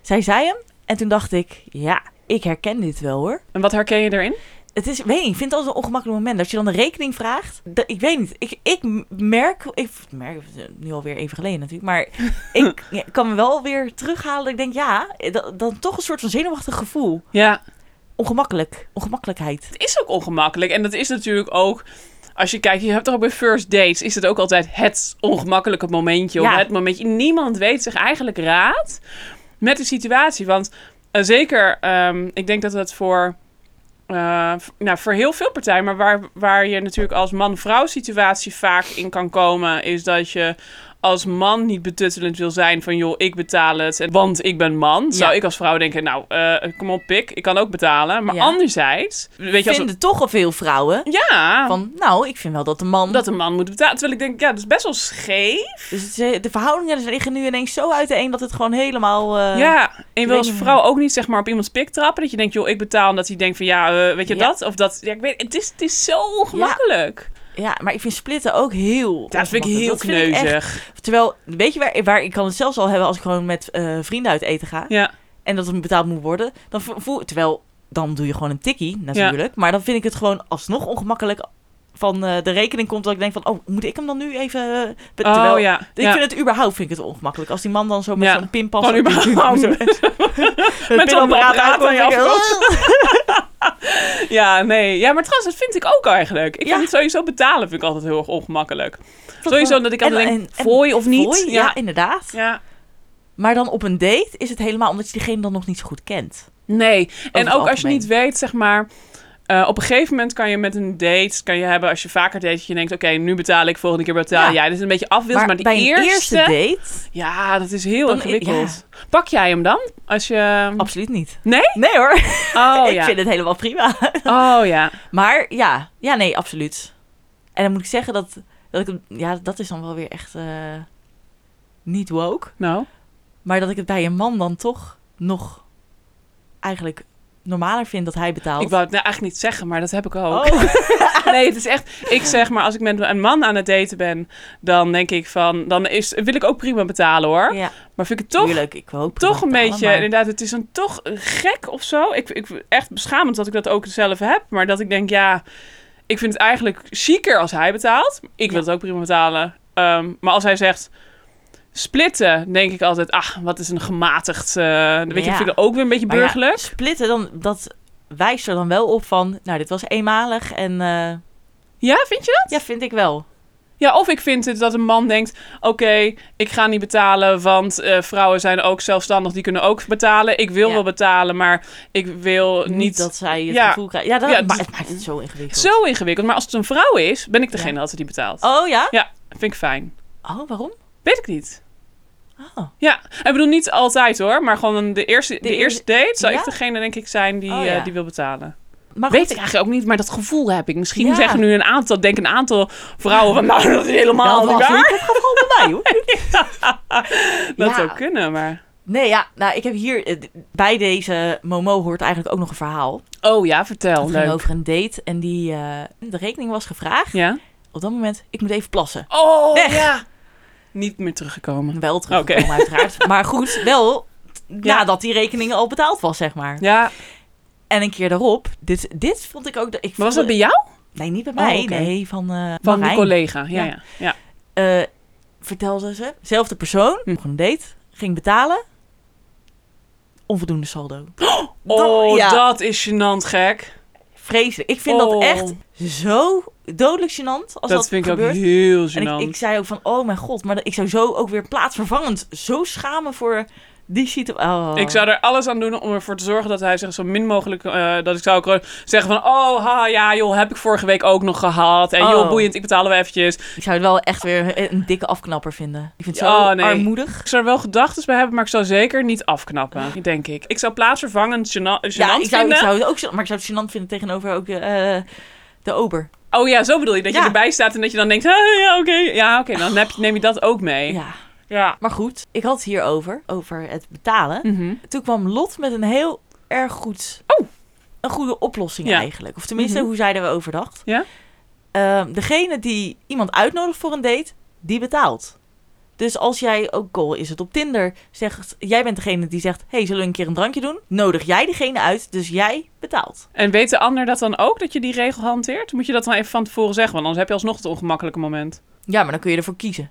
[SPEAKER 1] Zij zei hem en toen dacht ik, ja, ik herken dit wel hoor.
[SPEAKER 3] en wat herken je erin?
[SPEAKER 1] Het is, ik weet niet, ik vind het altijd een ongemakkelijk moment. Dat je dan de rekening vraagt. Dat, ik weet niet, ik, ik merk, ik merk, eh, nu alweer even geleden natuurlijk, maar ik ja, kan me wel weer terughalen. Dat ik denk, ja, dat, dan toch een soort van zenuwachtig gevoel.
[SPEAKER 3] Ja,
[SPEAKER 1] Ongemakkelijk, ongemakkelijkheid.
[SPEAKER 3] het is ook ongemakkelijk. En dat is natuurlijk ook... Als je kijkt, je hebt toch ook bij first dates... is het ook altijd het ongemakkelijke momentje. Of
[SPEAKER 1] Ja.
[SPEAKER 3] het momentje. Niemand weet zich eigenlijk raad met de situatie. Want eh, zeker, ehm, ik denk dat dat voor... eh, v- nou, voor heel veel partijen, maar waar, waar je natuurlijk als man-vrouw situatie vaak in kan komen, is dat je als man niet betuttelend wil zijn van joh, ik betaal het, en- want ik ben man. Zou
[SPEAKER 1] Ja.
[SPEAKER 3] ik als vrouw denken, nou, eh, kom op, pik, ik kan ook betalen. Maar
[SPEAKER 1] Ja.
[SPEAKER 3] anderzijds, weet je, als,
[SPEAKER 1] Vinden toch al veel vrouwen
[SPEAKER 3] ja,
[SPEAKER 1] van, nou, ik vind wel dat de man...
[SPEAKER 3] dat een man moet betalen. Terwijl ik denk, ja, dat is best wel scheef.
[SPEAKER 1] Dus het is, eh, de verhoudingen liggen nu ineens zo uit de een dat het gewoon helemaal... eh,
[SPEAKER 3] ja, en je wil
[SPEAKER 1] weet
[SPEAKER 3] als
[SPEAKER 1] niet.
[SPEAKER 3] vrouw ook niet zeg maar op iemands pik trappen. Dat je denkt, joh, ik betaal. En dat hij denkt van, ja, eh, weet je
[SPEAKER 1] Ja.
[SPEAKER 3] dat? Of dat, ja, ik weet, het is, het is zo ongemakkelijk.
[SPEAKER 1] Ja, maar ik vind splitten ook heel.
[SPEAKER 3] Dat vind ik
[SPEAKER 1] ongemakkelijk.
[SPEAKER 3] heel
[SPEAKER 1] Dat vind ik echt-
[SPEAKER 3] kneuzig.
[SPEAKER 1] terwijl, weet je waar, waar ik kan het zelfs al hebben als ik gewoon met eh, vrienden uit eten ga
[SPEAKER 3] Ja,
[SPEAKER 1] en dat het betaald moet worden, dan vo- voel terwijl dan doe je gewoon een tikkie natuurlijk, maar dan vind ik het gewoon alsnog ongemakkelijk van eh, de rekening komt dat ik denk van oh moet ik hem dan nu even eh, be-
[SPEAKER 3] Oh,
[SPEAKER 1] terwijl
[SPEAKER 3] ja,
[SPEAKER 1] ik
[SPEAKER 3] ja.
[SPEAKER 1] vind het überhaupt vind ik het ongemakkelijk als die man dan zo met
[SPEAKER 3] Ja.
[SPEAKER 1] zo'n pinpas
[SPEAKER 3] Gewoon überhaupt.
[SPEAKER 1] met
[SPEAKER 3] zo'n apparaat aan je
[SPEAKER 1] afkomt.
[SPEAKER 3] ja, nee. Ja, maar trouwens, dat vind ik ook eigenlijk. Ik
[SPEAKER 1] Ja.
[SPEAKER 3] vind het sowieso betalen vind ik altijd heel erg ongemakkelijk. Sowieso dat ik altijd
[SPEAKER 1] En-
[SPEAKER 3] denk,
[SPEAKER 1] en-
[SPEAKER 3] fooi of niet?
[SPEAKER 1] Fooi, ja.
[SPEAKER 3] ja.
[SPEAKER 1] inderdaad.
[SPEAKER 3] ja.
[SPEAKER 1] Maar dan op een date is het helemaal omdat je diegene dan nog niet zo goed kent.
[SPEAKER 3] Nee, en
[SPEAKER 1] het
[SPEAKER 3] ook als je
[SPEAKER 1] algemeen.
[SPEAKER 3] niet weet, zeg maar... eh, op een gegeven moment kan je met een date, kan je hebben als je vaker date, dat je denkt, oké, nu betaal ik, volgende keer betaal
[SPEAKER 1] Ja.
[SPEAKER 3] jij. Dus een beetje afwils, maar, die
[SPEAKER 1] bij een
[SPEAKER 3] eerste,
[SPEAKER 1] eerste date
[SPEAKER 3] ja, dat is heel
[SPEAKER 1] Dan-
[SPEAKER 3] ingewikkeld. Pak jij hem dan? Als je,
[SPEAKER 1] absoluut niet.
[SPEAKER 3] nee?
[SPEAKER 1] Nee hoor,
[SPEAKER 3] Oh
[SPEAKER 1] ik
[SPEAKER 3] ja.
[SPEAKER 1] vind het helemaal prima.
[SPEAKER 3] Oh ja.
[SPEAKER 1] maar ja, ja nee, absoluut. En dan moet ik zeggen dat, dat ik hem- ja, dat is dan wel weer echt eh, niet woke.
[SPEAKER 3] Nou,
[SPEAKER 1] Maar dat ik het bij een man dan toch nog eigenlijk normaler vind dat hij betaalt.
[SPEAKER 3] ik wou het nou eigenlijk niet zeggen, maar dat heb ik ook.
[SPEAKER 1] Oh.
[SPEAKER 3] Nee, het is echt. Ik zeg maar, als ik met een man aan het daten ben, dan denk ik van, dan is, wil ik ook prima betalen hoor.
[SPEAKER 1] Oh, ja,
[SPEAKER 3] Maar vind ik het toch,
[SPEAKER 1] tuurlijk, ik hoop
[SPEAKER 3] toch een beetje,
[SPEAKER 1] Maar,
[SPEAKER 3] inderdaad, het is een toch gek of zo. Ik, ik echt beschamend dat ik dat ook zelf heb, maar dat ik denk, ja, ik vind het eigenlijk chiquer als hij betaalt. Ik wil
[SPEAKER 1] Ja.
[SPEAKER 3] het ook prima betalen. Ehm, maar als hij zegt splitten, denk ik altijd, ach, wat is een gematigd. eh, weet je,
[SPEAKER 1] Ja.
[SPEAKER 3] vind ik ook weer een beetje
[SPEAKER 1] maar ja,
[SPEAKER 3] burgerlijk.
[SPEAKER 1] splitten, dan, dat wijst er dan wel op van, nou, dit was eenmalig en eh,
[SPEAKER 3] ja, vind je dat?
[SPEAKER 1] ja, vind ik wel.
[SPEAKER 3] Ja, of ik vind het dat een man denkt: oké, ik ga niet betalen, want eh, vrouwen zijn ook zelfstandig, die kunnen ook betalen. Ik wil
[SPEAKER 1] Ja.
[SPEAKER 3] wel betalen, maar ik wil niet.
[SPEAKER 1] Niet dat zij het
[SPEAKER 3] Ja.
[SPEAKER 1] gevoel krijgt. Ja, dat,
[SPEAKER 3] Ja,
[SPEAKER 1] maar
[SPEAKER 3] dus-
[SPEAKER 1] het maakt het zo ingewikkeld.
[SPEAKER 3] Zo ingewikkeld. Maar als het een vrouw is, ben ik degene altijd die betaalt.
[SPEAKER 1] Oh ja?
[SPEAKER 3] Ja, vind ik fijn.
[SPEAKER 1] Oh, waarom?
[SPEAKER 3] Weet ik niet.
[SPEAKER 1] Oh.
[SPEAKER 3] Ja, ik bedoel niet altijd hoor, maar gewoon de eerste, de,
[SPEAKER 1] eer-
[SPEAKER 3] eerste date zou ik
[SPEAKER 1] Ja?
[SPEAKER 3] degene denk ik zijn die,
[SPEAKER 1] Oh, ja.
[SPEAKER 3] eh, die wil betalen.
[SPEAKER 1] Maar
[SPEAKER 3] Weet
[SPEAKER 1] goed,
[SPEAKER 3] ik eigenlijk ook niet, maar dat gevoel heb ik. Misschien
[SPEAKER 1] Ja.
[SPEAKER 3] zeggen nu een aantal, denk een aantal vrouwen van nou, dat is helemaal
[SPEAKER 1] dan
[SPEAKER 3] niet
[SPEAKER 1] was
[SPEAKER 3] waar.
[SPEAKER 1] ik Oh, het gaat gewoon bij mij hoor.
[SPEAKER 3] Dat
[SPEAKER 1] Ja.
[SPEAKER 3] zou kunnen, maar...
[SPEAKER 1] Nee, ja, nou, ik heb hier eh, d- bij deze Momo hoort eigenlijk ook nog een verhaal.
[SPEAKER 3] Oh ja, vertel.
[SPEAKER 1] Het
[SPEAKER 3] Leuk.
[SPEAKER 1] ging over een date en die eh, de rekening was gevraagd.
[SPEAKER 3] Ja?
[SPEAKER 1] Op dat moment, ik moet even plassen.
[SPEAKER 3] Oh,
[SPEAKER 1] Weg.
[SPEAKER 3] ja. Niet meer teruggekomen.
[SPEAKER 1] Wel teruggekomen
[SPEAKER 3] Oké.
[SPEAKER 1] uiteraard. Maar goed, wel t-
[SPEAKER 3] Ja.
[SPEAKER 1] nadat die rekening al betaald was, zeg maar.
[SPEAKER 3] Ja, maar
[SPEAKER 1] En een keer daarop, dit, dit vond ik ook... dat- Ik
[SPEAKER 3] was dat
[SPEAKER 1] voelde-
[SPEAKER 3] bij jou?
[SPEAKER 1] Nee, niet bij
[SPEAKER 3] Oh,
[SPEAKER 1] mij.
[SPEAKER 3] oké.
[SPEAKER 1] Nee, van eh
[SPEAKER 3] Van die
[SPEAKER 1] Marijn.
[SPEAKER 3] collega. Ja, ja.
[SPEAKER 1] Ja.
[SPEAKER 3] ja. ja.
[SPEAKER 1] eh, vertelde ze, zelfde persoon,
[SPEAKER 3] Hm.
[SPEAKER 1] nog een date, ging betalen. Onvoldoende saldo.
[SPEAKER 3] Oh,
[SPEAKER 1] ja.
[SPEAKER 3] dat is gênant gek.
[SPEAKER 1] Vreselijk. Ik vind
[SPEAKER 3] Oh.
[SPEAKER 1] dat echt zo dodelijk gênant als dat,
[SPEAKER 3] dat vind ik
[SPEAKER 1] gebeurt.
[SPEAKER 3] ook heel gênant.
[SPEAKER 1] En ik, ik zei ook van, oh mijn god, maar ik zou zo ook weer plaatsvervangend zo schamen voor die situatie. Oh.
[SPEAKER 3] Ik zou er alles aan doen om ervoor te zorgen dat hij zich zo min mogelijk... eh, dat ik zou ook zeggen van... Oh, ha, ja, joh, heb ik vorige week ook nog gehad. En joh,
[SPEAKER 1] Oh.
[SPEAKER 3] boeiend, ik betaal hem eventjes.
[SPEAKER 1] Ik zou het wel echt weer een dikke afknapper vinden. Ik vind het zo
[SPEAKER 3] Ja, Oh, nee.
[SPEAKER 1] armoedig.
[SPEAKER 3] Ik zou er wel gedachten bij hebben, maar ik zou zeker niet afknappen, denk ik. Ik zou plaatsvervangend gêna- gênant
[SPEAKER 1] Ah. Ja, ik zou, ik
[SPEAKER 3] vinden.
[SPEAKER 1] zou het ook, gênant- maar ik zou het gênant vinden tegenover ook de, eh, de ober.
[SPEAKER 3] Oh ja, zo bedoel je, dat je
[SPEAKER 1] Ja.
[SPEAKER 3] erbij staat en dat je dan denkt... "Ah, ja, oké, ja, oké, dan heb je- neem je dat ook mee.
[SPEAKER 1] Ja.
[SPEAKER 3] Ja.
[SPEAKER 1] Maar goed, ik had het hierover, over het betalen.
[SPEAKER 3] Mhm.
[SPEAKER 1] Toen kwam Lot met een heel erg goed...
[SPEAKER 3] Oh.
[SPEAKER 1] Een goede oplossing
[SPEAKER 3] Ja.
[SPEAKER 1] eigenlijk. Of tenminste,
[SPEAKER 3] Mhm.
[SPEAKER 1] hoe zij erover dacht.
[SPEAKER 3] Ja.
[SPEAKER 1] Ehm, degene die iemand uitnodigt voor een date, die betaalt. Dus als jij, ook al is het op Tinder, zegt... Jij bent degene die zegt, hey, zullen we een keer een drankje doen? Nodig jij degene uit, dus jij betaalt.
[SPEAKER 3] En weet de ander dat dan ook, dat je die regel hanteert? Moet je dat dan even van tevoren zeggen, want anders heb je alsnog het ongemakkelijke moment.
[SPEAKER 1] Ja, maar dan kun je ervoor kiezen.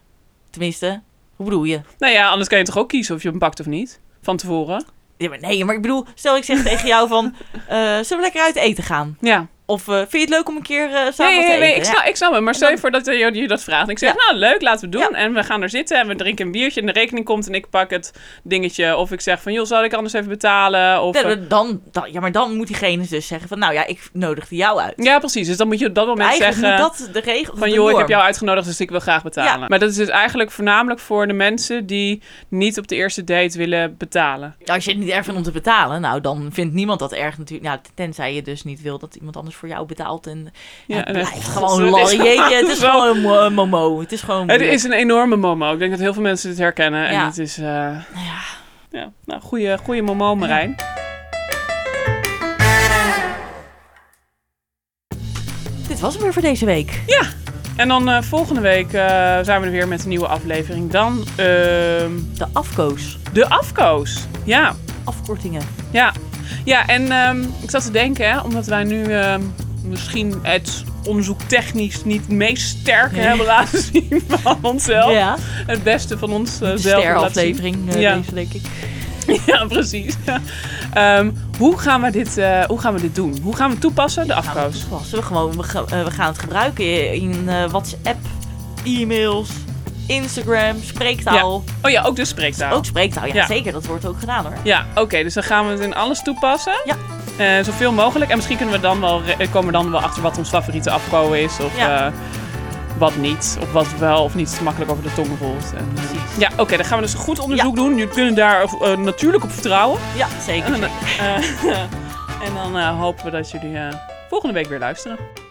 [SPEAKER 1] Tenminste, hoe bedoel je?
[SPEAKER 3] Nou ja, anders kan je toch ook kiezen of je hem pakt of niet? Van tevoren.
[SPEAKER 1] Ja, maar nee, maar ik bedoel, stel ik zeg tegen jou van... eh, zullen we lekker uit eten gaan?
[SPEAKER 3] Ja.
[SPEAKER 1] Of eh, vind je het leuk om een keer eh, samen
[SPEAKER 3] Nee,
[SPEAKER 1] wat
[SPEAKER 3] nee,
[SPEAKER 1] te
[SPEAKER 3] nee,
[SPEAKER 1] eten?
[SPEAKER 3] ik,
[SPEAKER 1] Ja.
[SPEAKER 3] snap, ik snap het. Maar stel je voor dat eh, je dat vraagt. En ik zeg,
[SPEAKER 1] Ja.
[SPEAKER 3] nou leuk, laten we het doen.
[SPEAKER 1] Ja.
[SPEAKER 3] En we gaan er zitten en we drinken een biertje. En de rekening komt en ik pak het dingetje. Of ik zeg van, joh, zal ik anders even betalen? Of,
[SPEAKER 1] Nee,
[SPEAKER 3] eh,
[SPEAKER 1] maar dan, dan, ja, maar dan moet diegene dus zeggen van... Nou ja, ik nodigde jou uit.
[SPEAKER 3] Ja, precies. Dus dan moet je op dat moment
[SPEAKER 1] Eigenlijk
[SPEAKER 3] zeggen...
[SPEAKER 1] moet dat de regel
[SPEAKER 3] Van
[SPEAKER 1] de
[SPEAKER 3] joh, ik
[SPEAKER 1] norm.
[SPEAKER 3] heb jou uitgenodigd, dus ik wil graag betalen.
[SPEAKER 1] Ja.
[SPEAKER 3] Maar dat is dus eigenlijk voornamelijk voor de mensen die niet op de eerste date willen betalen.
[SPEAKER 1] Als je het niet erg vindt om te betalen, nou dan vindt niemand dat erg natuurlijk. Nou, tenzij je dus niet wil dat iemand anders voor jou betaalt. En, ja, het
[SPEAKER 3] en-
[SPEAKER 1] blijft
[SPEAKER 3] God,
[SPEAKER 1] gewoon
[SPEAKER 3] eh, het is
[SPEAKER 1] lol. Jeetje, het is
[SPEAKER 3] zo-
[SPEAKER 1] gewoon een mo- momo. Het is gewoon
[SPEAKER 3] Het
[SPEAKER 1] moeilijk.
[SPEAKER 3] is een enorme momo. Ik denk dat heel veel mensen dit herkennen. En
[SPEAKER 1] Ja.
[SPEAKER 3] het is... eh, ja, nou, goeie, goeie momo, Marijn.
[SPEAKER 1] Dit was hem weer voor deze week.
[SPEAKER 3] En dan eh, volgende week eh, zijn we er weer met een nieuwe aflevering. Dan ehm,
[SPEAKER 1] De afkoos.
[SPEAKER 3] de afkoos. Ja,
[SPEAKER 1] Afkortingen.
[SPEAKER 3] ja. Ja, en ehm, ik zat te denken, hè, omdat wij nu ehm, misschien het onderzoek technisch niet het meest sterke
[SPEAKER 1] Nee.
[SPEAKER 3] hebben laten zien van onszelf.
[SPEAKER 1] Ja,
[SPEAKER 3] Het beste van eh,
[SPEAKER 1] de
[SPEAKER 3] onszelf laten zien.
[SPEAKER 1] steraflevering eh,
[SPEAKER 3] Ja.
[SPEAKER 1] deze denk ik.
[SPEAKER 3] Ja, precies. Ehm, hoe, gaan we dit, eh, hoe gaan we dit doen? Hoe gaan we het toepassen? De
[SPEAKER 1] Nou,
[SPEAKER 3] afkoos.
[SPEAKER 1] dat was we gewoon. We, ga- eh, we gaan het gebruiken in eh, WhatsApp, e-mails, Instagram, spreektaal.
[SPEAKER 3] Oh ja, ook de spreektaal.
[SPEAKER 1] Ook spreektaal, ja,
[SPEAKER 3] Ja.
[SPEAKER 1] zeker. Dat wordt ook gedaan hoor.
[SPEAKER 3] Ja, oké, dus dan gaan we het in alles toepassen.
[SPEAKER 1] Ja.
[SPEAKER 3] Eh, zoveel mogelijk. En misschien kunnen we dan wel, re- komen we dan wel achter wat ons favoriete afko is. Of
[SPEAKER 1] Ja.
[SPEAKER 3] eh, wat niet. Of wat wel of niet makkelijk over de tong rolt. En, eh,
[SPEAKER 1] Precies.
[SPEAKER 3] ja, oké, dan gaan we dus een goed onderzoek doen. Jullie kunnen daar eh, natuurlijk op vertrouwen.
[SPEAKER 1] Ja, zeker.
[SPEAKER 3] En dan, eh, en dan eh, hopen we dat jullie eh, volgende week weer luisteren.